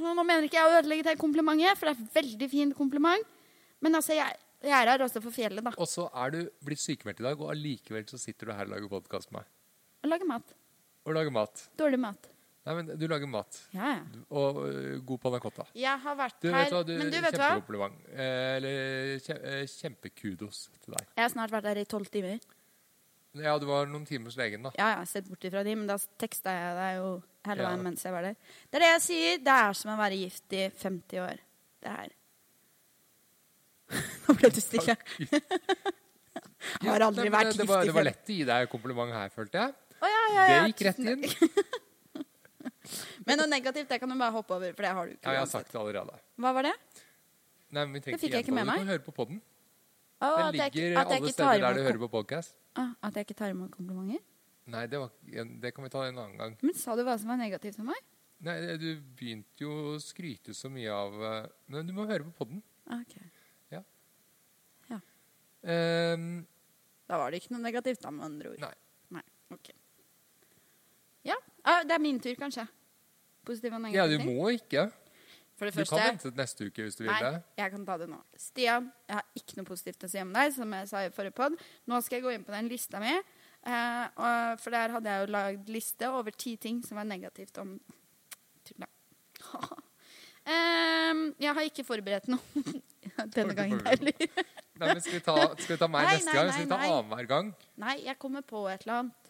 Speaker 2: nå nå mener ikke jeg å ødelegge det komplimentet, for det er et veldig fint kompliment. Men altså, jeg, jeg er her også for fjellet, da.
Speaker 1: Og så er du blitt sykemeldt i dag, og allikevel så sitter du her og lager podkast med meg.
Speaker 2: Og lage mat.
Speaker 1: Og lager mat.
Speaker 2: Dårlig mat.
Speaker 1: Nei, men du lager mat.
Speaker 2: Ja, ja.
Speaker 1: Og ø, god panna cotta.
Speaker 2: Jeg har vært
Speaker 1: Du,
Speaker 2: her
Speaker 1: vet hva, du,
Speaker 2: Men du, vet hva?
Speaker 1: kjempekompliment. Eh, Eller kje, eh, kjempekudos til deg.
Speaker 2: Jeg har snart vært her i tolv timer.
Speaker 1: Ja, du var noen timer hos legen, da.
Speaker 2: Ja, jeg har sett bort ifra de, men da teksta jeg deg jo hele
Speaker 1: Ja.
Speaker 2: veien mens jeg var der. Det er det jeg sier. Det er som å være gift i 50 år. Det her. Nå ble du stille. Jeg har
Speaker 1: Nei,
Speaker 2: aldri
Speaker 1: men,
Speaker 2: vært
Speaker 1: det, var,
Speaker 2: gift i
Speaker 1: det var
Speaker 2: 50
Speaker 1: lett å gi deg kompliment her, følte jeg.
Speaker 2: Å, ja, ja,
Speaker 1: Det
Speaker 2: ja.
Speaker 1: gikk rett inn.
Speaker 2: Men noe negativt det kan du bare hoppe over, for det har du ikke.
Speaker 1: Ja, jeg har
Speaker 2: uansett.
Speaker 1: sagt det allerede.
Speaker 2: Hva var det?
Speaker 1: Nei, men vi trenger
Speaker 2: Det fikk jeg ikke
Speaker 1: gjenta
Speaker 2: med
Speaker 1: Du
Speaker 2: meg.
Speaker 1: kan høre på podden.
Speaker 2: Å,
Speaker 1: Den
Speaker 2: at jeg ikke-
Speaker 1: ligger
Speaker 2: at jeg
Speaker 1: alle
Speaker 2: ikke tar
Speaker 1: steder der du
Speaker 2: imot
Speaker 1: hører
Speaker 2: kom-
Speaker 1: på podcast.
Speaker 2: Ah, at jeg ikke tar imot komplimenter?
Speaker 1: Nei, det, var, det kan vi ta en annen gang.
Speaker 2: Men sa du hva som var negativt for meg?
Speaker 1: Nei, du begynte jo å skryte så mye av eh, Men du må høre på podden.
Speaker 2: Ah, ok.
Speaker 1: Ehm,
Speaker 2: Da var det ikke noe negativt, da, med andre ord.
Speaker 1: Nei.
Speaker 2: Nei, ok. Ja, ah, det er min tur, kanskje. Positive og
Speaker 1: ja,
Speaker 2: negative
Speaker 1: du
Speaker 2: ting.
Speaker 1: må ikke.
Speaker 2: For det
Speaker 1: Du kan
Speaker 2: første
Speaker 1: vente til neste uke hvis du vil
Speaker 2: Nei,
Speaker 1: det.
Speaker 2: jeg kan ta det nå. Stian, jeg har ikke noe positivt å si om deg, som jeg sa i forrige podd. Nå skal jeg gå inn på den lista mi. eh, og, for der hadde jeg jo lagd liste over ti ting som var negativt om Tulla. Em, Ehm, jeg har ikke forberedt noe
Speaker 1: Har
Speaker 2: denne
Speaker 1: du
Speaker 2: gangen
Speaker 1: forberedt
Speaker 2: heller.
Speaker 1: Nei, men skal vi ta, skal vi ta meg
Speaker 2: Nei,
Speaker 1: neste
Speaker 2: nei,
Speaker 1: gang? Skal vi
Speaker 2: nei,
Speaker 1: ta
Speaker 2: nei.
Speaker 1: annenhver gang?
Speaker 2: Nei, jeg kommer på et eller annet.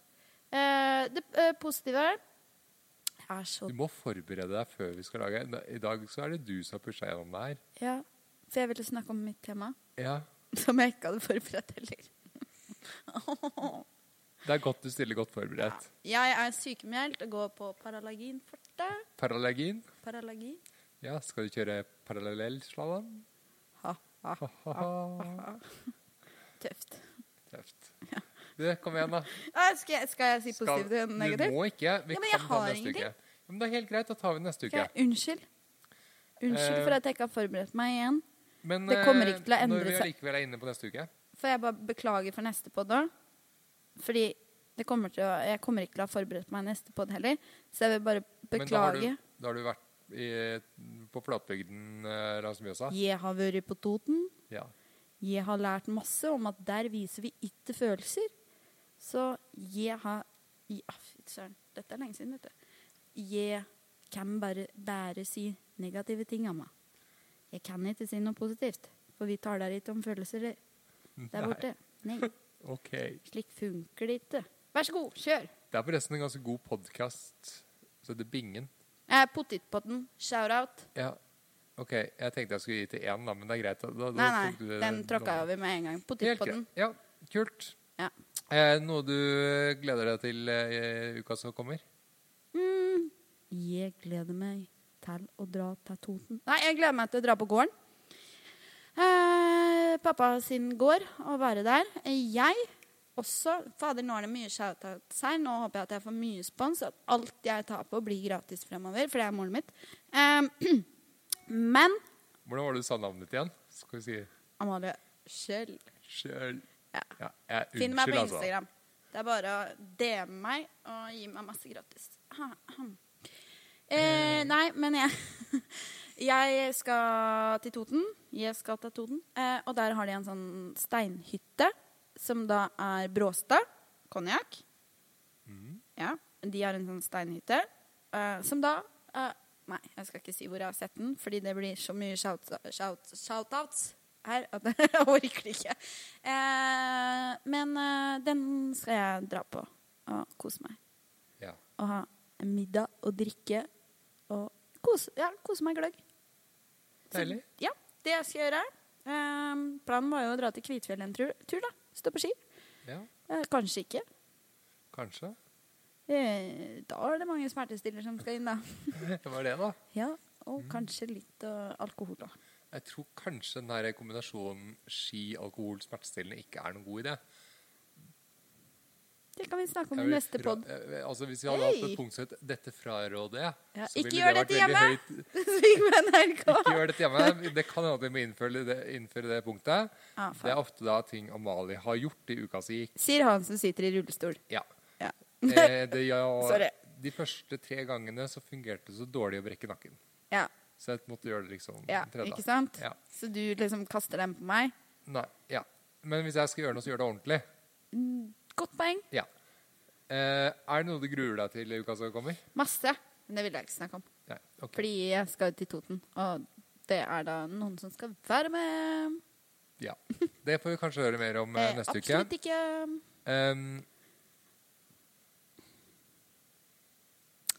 Speaker 2: Eh, det eh, positive Jeg er så
Speaker 1: Du må forberede deg før vi skal lage. I dag så er det du som har pusha gjennom det her.
Speaker 2: Ja, for jeg ville snakke om mitt tema,
Speaker 1: Ja.
Speaker 2: som jeg ikke hadde forberedt heller.
Speaker 1: Det er godt du stiller godt forberedt.
Speaker 2: Jeg er sykemeldt og går på paralagin fortet.
Speaker 1: Parallegin?
Speaker 2: Paralagin.
Speaker 1: Ja, skal du kjøre parallellslalåm?
Speaker 2: Ha, ha,
Speaker 1: Ha-ha.
Speaker 2: ha. Tøft.
Speaker 1: Tøft. Du, kom igjen, da.
Speaker 2: Ah, skal, jeg, skal jeg si
Speaker 1: Skal-
Speaker 2: positivt og
Speaker 1: Du
Speaker 2: negativt?
Speaker 1: må ikke. Vi
Speaker 2: Ja, men jeg
Speaker 1: kan ta
Speaker 2: har
Speaker 1: neste
Speaker 2: ingenting.
Speaker 1: uke. Ja, Men det er helt greit. Da tar vi det neste uke.
Speaker 2: Ok, Unnskyld. Unnskyld
Speaker 1: Eh,
Speaker 2: for at jeg ikke har forberedt meg igjen.
Speaker 1: Men
Speaker 2: Det kommer ikke til å
Speaker 1: eh,
Speaker 2: endre
Speaker 1: når vi
Speaker 2: seg.
Speaker 1: allikevel er inne på neste uke
Speaker 2: Får jeg bare beklage for neste podd da? Fordi det kommer til å, jeg kommer ikke til å ha forberedt meg neste podd heller. Så jeg vil bare
Speaker 1: Men da har
Speaker 2: beklage.
Speaker 1: du, da har du vært i, på flatbygden eh, langs Mjøsa?
Speaker 2: Jeg har vært på Toten.
Speaker 1: Ja.
Speaker 2: Jeg har lært masse om at der viser vi ikke følelser. Så jeg har i- ah, Fy søren, dette er lenge siden, vet du. Jeg kan bare, bare si negative ting om meg. Jeg kan ikke si noe positivt, for vi taler ikke om følelser der borte. Nei,
Speaker 1: OK.
Speaker 2: slik funker det ikke. Vær så god, kjør!
Speaker 1: Det er forresten en ganske god podkast som heter Bingen.
Speaker 2: Eh, Pottitpotten, shout-out.
Speaker 1: Ja. OK, jeg tenkte jeg skulle gi til én, da, men det er greit. Da, da,
Speaker 2: Nei,
Speaker 1: da
Speaker 2: nei,
Speaker 1: tok du det-
Speaker 2: den tråkka jeg over med en gang.
Speaker 1: Helt greit.
Speaker 2: Pottitpotten.
Speaker 1: Ja, kult.
Speaker 2: Ja.
Speaker 1: Eh, noe du gleder deg til eh, i uka som kommer?
Speaker 2: Mm. Jeg gleder meg til å dra til Toten. Nei, jeg gleder meg til å dra på gården. Eh, pappa sin gård, og være der. Jeg også. Fader, nå er det mye shoutouts her. Nå håper jeg at jeg får mye spons, og at alt jeg tar på, blir gratis fremover, for det er målet mitt. Eh, men
Speaker 1: Hvordan var det du sa navnet ditt igjen? Skal vi si
Speaker 2: Amalie Skjell
Speaker 1: Sjøl...
Speaker 2: Ja.
Speaker 1: Ja, jeg, unnskyld,
Speaker 2: Finn meg på
Speaker 1: altså.
Speaker 2: Instagram. Det er bare å DM meg og gi meg masse gratis. Eh,
Speaker 1: Mm.
Speaker 2: nei, men jeg Jeg skal til Toten. Jeg skal til Toten. Eh, og der har de en sånn steinhytte, som da er Bråstad konjakk. Ja, de har en sånn steinhytte, eh, som da eh, Nei, jeg skal ikke si hvor jeg har sett den, fordi det blir så mye shout, shout, shoutouts her at jeg orker ikke. Eh, men eh, den skal jeg dra på og kose meg.
Speaker 1: Ja.
Speaker 2: Og ha en middag og drikke og kose, ja, kose meg gløgg. Så-
Speaker 1: Deilig.
Speaker 2: Ja, det jeg skal gjøre. Ehm, planen var jo å dra til Kvitfjell en tur, tur da. Stå på ski.
Speaker 1: Ja,
Speaker 2: Eh, kanskje ikke.
Speaker 1: kanskje.
Speaker 2: Eh, da er det mange smertestillere som skal inn, da.
Speaker 1: Det var det, da.
Speaker 2: Ja, Og kanskje litt eh, alkohol òg.
Speaker 1: Jeg tror kanskje den her kombinasjonen ski, alkohol, smertestillende ikke er noen god idé.
Speaker 2: Det kan vi snakke om
Speaker 1: Jeg
Speaker 2: i
Speaker 1: vil
Speaker 2: neste
Speaker 1: fra-
Speaker 2: pod.
Speaker 1: eh, Altså, hvis vi hadde hatt
Speaker 2: Hei!
Speaker 1: et punkt som het 'dette fraråder jeg',
Speaker 2: Ja,
Speaker 1: så
Speaker 2: ikke
Speaker 1: ville
Speaker 2: gjør
Speaker 1: det vært
Speaker 2: dette
Speaker 1: veldig
Speaker 2: hjemme!
Speaker 1: høyt.
Speaker 2: Sigmund
Speaker 1: Ikke
Speaker 2: RK.
Speaker 1: gjør dette hjemme. Det kan hende at vi må innføre det, innføre det punktet.
Speaker 2: Ah,
Speaker 1: Det er
Speaker 2: faen.
Speaker 1: ofte da ting Amalie har gjort i uka som gikk.
Speaker 2: Sier han som sitter i rullestol.
Speaker 1: Ja.
Speaker 2: Ja.
Speaker 1: Eh, det, ja
Speaker 2: Sorry.
Speaker 1: De første tre gangene så fungerte det så dårlig å brekke nakken.
Speaker 2: Ja,
Speaker 1: Så jeg måtte gjøre det liksom
Speaker 2: ja
Speaker 1: den tredje.
Speaker 2: ikke sant?
Speaker 1: Ja.
Speaker 2: Så du liksom kaster den på meg.
Speaker 1: Nei, ja. Men hvis jeg skal gjøre noe, så gjør det ordentlig.
Speaker 2: Mm, Godt poeng.
Speaker 1: Ja. Eh, er det noe du gruer deg til i uka som kommer?
Speaker 2: Masse. Men det vil jeg ikke snakke om.
Speaker 1: Nei. ok.
Speaker 2: Fordi jeg skal til Toten, og det er da noen som skal være med.
Speaker 1: Ja. Det får vi kanskje høre mer om eh,
Speaker 2: Eh,
Speaker 1: neste uke.
Speaker 2: Absolutt ikke.
Speaker 1: Um,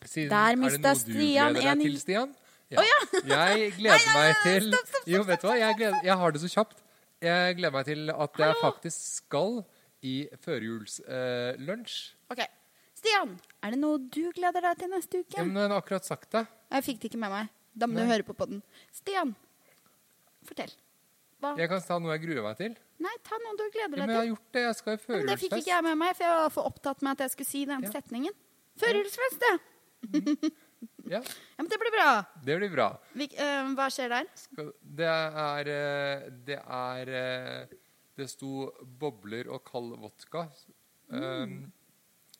Speaker 1: siden,
Speaker 2: Der
Speaker 1: er det
Speaker 2: mistet
Speaker 1: noe du
Speaker 2: Stian
Speaker 1: gleder deg
Speaker 2: en-
Speaker 1: til, Stian? Ja. jeg gleder meg til Jo, vet du hva? Jeg, gleder, jeg har det så kjapt. Jeg gleder meg til at jeg faktisk skal i førjulslunsj.
Speaker 2: Ok. Stian, er det noe du gleder deg til neste uke?
Speaker 1: Men jeg har akkurat sagt det.
Speaker 2: Jeg fikk det ikke med meg. Da må du
Speaker 1: Nei.
Speaker 2: høre på podden. Stian, fortell. Hva?
Speaker 1: Jeg kan ta noe jeg gruer meg til.
Speaker 2: Nei, ta noe du gleder
Speaker 1: Ja, men
Speaker 2: deg
Speaker 1: jeg har
Speaker 2: til.
Speaker 1: gjort det. Jeg skal i
Speaker 2: Ja, Men det fikk ikke
Speaker 1: førjulsfest.
Speaker 2: jeg med meg, for jeg var for opptatt med at jeg skulle si den
Speaker 1: Ja.
Speaker 2: setningen. Førjulsfest, ja.
Speaker 1: Ja,
Speaker 2: Ja, men det blir bra.
Speaker 1: det blir bra.
Speaker 2: Vi, eh, hva skjer der?
Speaker 1: Skal- Det er eh, Det er eh, Det sto bobler og kald vodka.
Speaker 2: Mm.
Speaker 1: Um,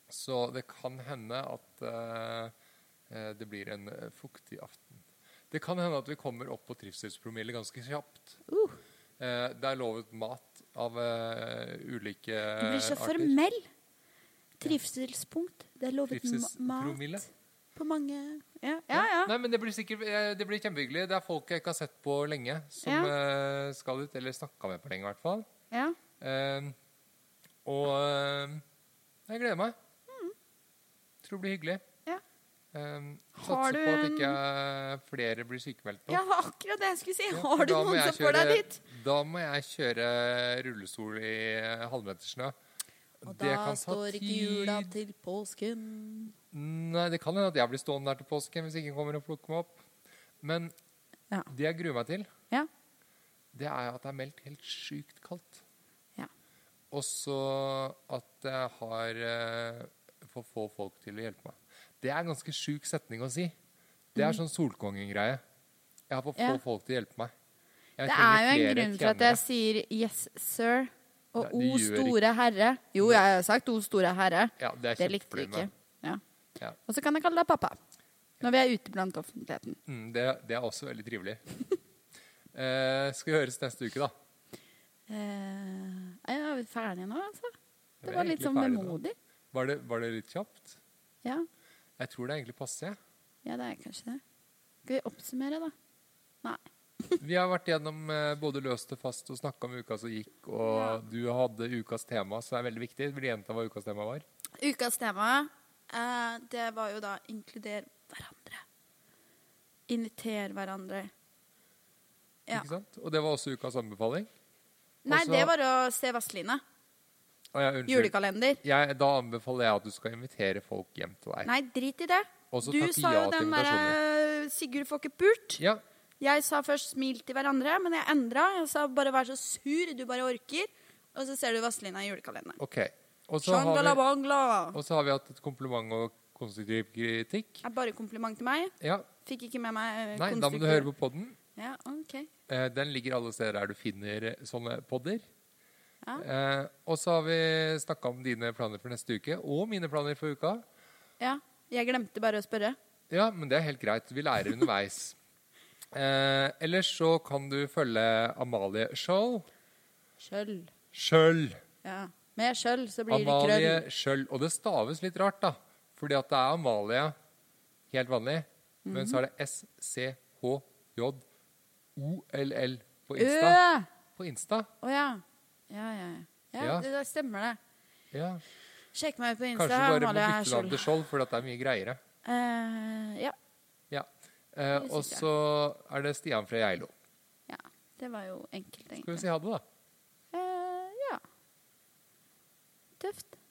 Speaker 1: Så det kan hende at eh, eh, det blir en eh, fuktig aften. Det kan hende at vi kommer opp på trivselspromille ganske kjapt.
Speaker 2: Uh,
Speaker 1: Eh, Det er lovet mat av eh, ulike
Speaker 2: du blir så
Speaker 1: arter.
Speaker 2: formell. Trivselspunkt. Det er lovet ma-
Speaker 1: Trivselspromille.
Speaker 2: mat på mange Ja, ja. ja.
Speaker 1: Nei, men det blir sikkert eh, Det blir kjempehyggelig. Det er folk jeg ikke har sett på lenge, som
Speaker 2: Ja.
Speaker 1: eh, skal ut. Eller snakka med på lenge, i hvert fall.
Speaker 2: ja.
Speaker 1: Eh, og eh, jeg gleder meg. Tror det blir hyggelig.
Speaker 2: Mm. Ja.
Speaker 1: Eh,
Speaker 2: Har
Speaker 1: satser
Speaker 2: du
Speaker 1: på at
Speaker 2: en-
Speaker 1: ikke flere blir sykemeldt nå.
Speaker 2: Ja, det var akkurat det jeg skulle si.
Speaker 1: Ja, for
Speaker 2: Har du
Speaker 1: da må
Speaker 2: noen
Speaker 1: jeg
Speaker 2: som får deg
Speaker 1: kjøre-
Speaker 2: dit?
Speaker 1: Da må jeg kjøre rullestol i eh, halvmetersnø.
Speaker 2: Og
Speaker 1: Det
Speaker 2: da
Speaker 1: kan ta
Speaker 2: står ikke
Speaker 1: tid.
Speaker 2: jula til påsken.
Speaker 1: Nei, det kan hende at jeg blir stående der til påsken hvis ingen kommer og plukker meg opp. Men
Speaker 2: Ja.
Speaker 1: det jeg gruer meg til,
Speaker 2: Ja.
Speaker 1: det er at det er meldt helt sjukt kaldt.
Speaker 2: Ja.
Speaker 1: Og så at jeg har eh, for få folk til å hjelpe meg. Det er en ganske sjuk setning å si. Det er sånn Solkongen-greie. Jeg har for få
Speaker 2: Mm. Ja.
Speaker 1: folk til å hjelpe meg. Jeg
Speaker 2: Det
Speaker 1: trenger
Speaker 2: er jo en
Speaker 1: flere
Speaker 2: grunn for at
Speaker 1: trenere.
Speaker 2: jeg sier 'yes, sir' og
Speaker 1: Nei, du
Speaker 2: 'o
Speaker 1: gjør
Speaker 2: store herre'. Jo, jeg har sagt 'o store herre'.
Speaker 1: ja, det, er
Speaker 2: Det likte du
Speaker 1: kjempeproblem,
Speaker 2: ikke.
Speaker 1: det.
Speaker 2: Ja.
Speaker 1: Ja.
Speaker 2: Og så kan jeg kalle deg pappa. Når vi er ute blant offentligheten.
Speaker 1: Mm, det, det er også veldig trivelig. Eh, skal vi høres neste uke, da.
Speaker 2: Eh, er vi ferdige nå, altså?
Speaker 1: Vi
Speaker 2: Det
Speaker 1: er
Speaker 2: var litt
Speaker 1: egentlig
Speaker 2: sånn
Speaker 1: ferdige nå.
Speaker 2: vemodig.
Speaker 1: Var det, var det litt kjapt?
Speaker 2: Ja.
Speaker 1: Jeg tror det er egentlig passe. jeg.
Speaker 2: ja, det er kanskje det. Skal vi oppsummere, da? Nei.
Speaker 1: Vi har vært gjennom eh, både løst og fast og snakka om uka som gikk, og du hadde ukas tema, så det er veldig viktig. Vil du gjenta hva ukas tema var?
Speaker 2: Ukas tema, eh, det var jo da inkludere hverandre. Invitere hverandre. Ja.
Speaker 1: Ikke sant? Og det var også ukas anbefaling.
Speaker 2: Nei,
Speaker 1: så-
Speaker 2: det var å se Vazelina.
Speaker 1: Å, ja, unnskyld.
Speaker 2: Julekalender.
Speaker 1: Jeg, da anbefaler jeg at du skal invitere folk hjem til deg.
Speaker 2: Nei, drit i det.
Speaker 1: Og så
Speaker 2: Du
Speaker 1: takke
Speaker 2: sa
Speaker 1: ja
Speaker 2: jo
Speaker 1: til
Speaker 2: den derre 'Sigurd får ikke pult'.
Speaker 1: Ja,
Speaker 2: Jeg sa først 'smil til hverandre', men jeg endra. Jeg sa bare 'vær så sur, du bare orker'. Og så ser du Vazelina i julekalenderen.
Speaker 1: OK. Og så har, vi,
Speaker 2: Shangala-bangla.
Speaker 1: og så har vi hatt et kompliment og konstruktiv kritikk.
Speaker 2: Er bare kompliment til meg.
Speaker 1: Ja.
Speaker 2: Fikk ikke med meg eh,
Speaker 1: Nei, da må du høre på podden.
Speaker 2: Ja, ok.
Speaker 1: Eh, Den ligger alle steder der du finner eh, sånne podder.
Speaker 2: Ja.
Speaker 1: Eh, og så har vi snakka om dine planer for neste uke, og mine planer for uka.
Speaker 2: Ja, jeg glemte bare å spørre.
Speaker 1: Ja, men det er helt greit. Vi lærer underveis. Eh, ellers så kan du følge Amalie Skjold.
Speaker 2: Kjøll.
Speaker 1: Skjøll.
Speaker 2: Ja. Med kjøll så blir det
Speaker 1: Amalie
Speaker 2: krøll.
Speaker 1: Skjøll. Og det staves litt rart, da. Fordi at det er Amalie helt vanlig, men
Speaker 2: Mhm.
Speaker 1: så er det S-C-H-J-O-L-L på
Speaker 2: Ø!
Speaker 1: Insta. På Insta.
Speaker 2: Å ja. Ja, ja, ja. ja
Speaker 1: Ja.
Speaker 2: det, det stemmer det.
Speaker 1: Ja.
Speaker 2: Sjekk meg ut på Insta.
Speaker 1: Kanskje du bare må
Speaker 2: Amalie
Speaker 1: bytte navn
Speaker 2: Skjold.
Speaker 1: til Skjold, fordi at det er mye greiere.
Speaker 2: Eh, ja.
Speaker 1: Ja. Eh,
Speaker 2: Det synes
Speaker 1: og
Speaker 2: jeg.
Speaker 1: så er det Stian fra Geilo.
Speaker 2: ja. Det var jo
Speaker 1: Skal
Speaker 2: enkelt,
Speaker 1: vi
Speaker 2: egentlig.
Speaker 1: si ha det, da?
Speaker 2: Eh, ja. Eh, Tøft.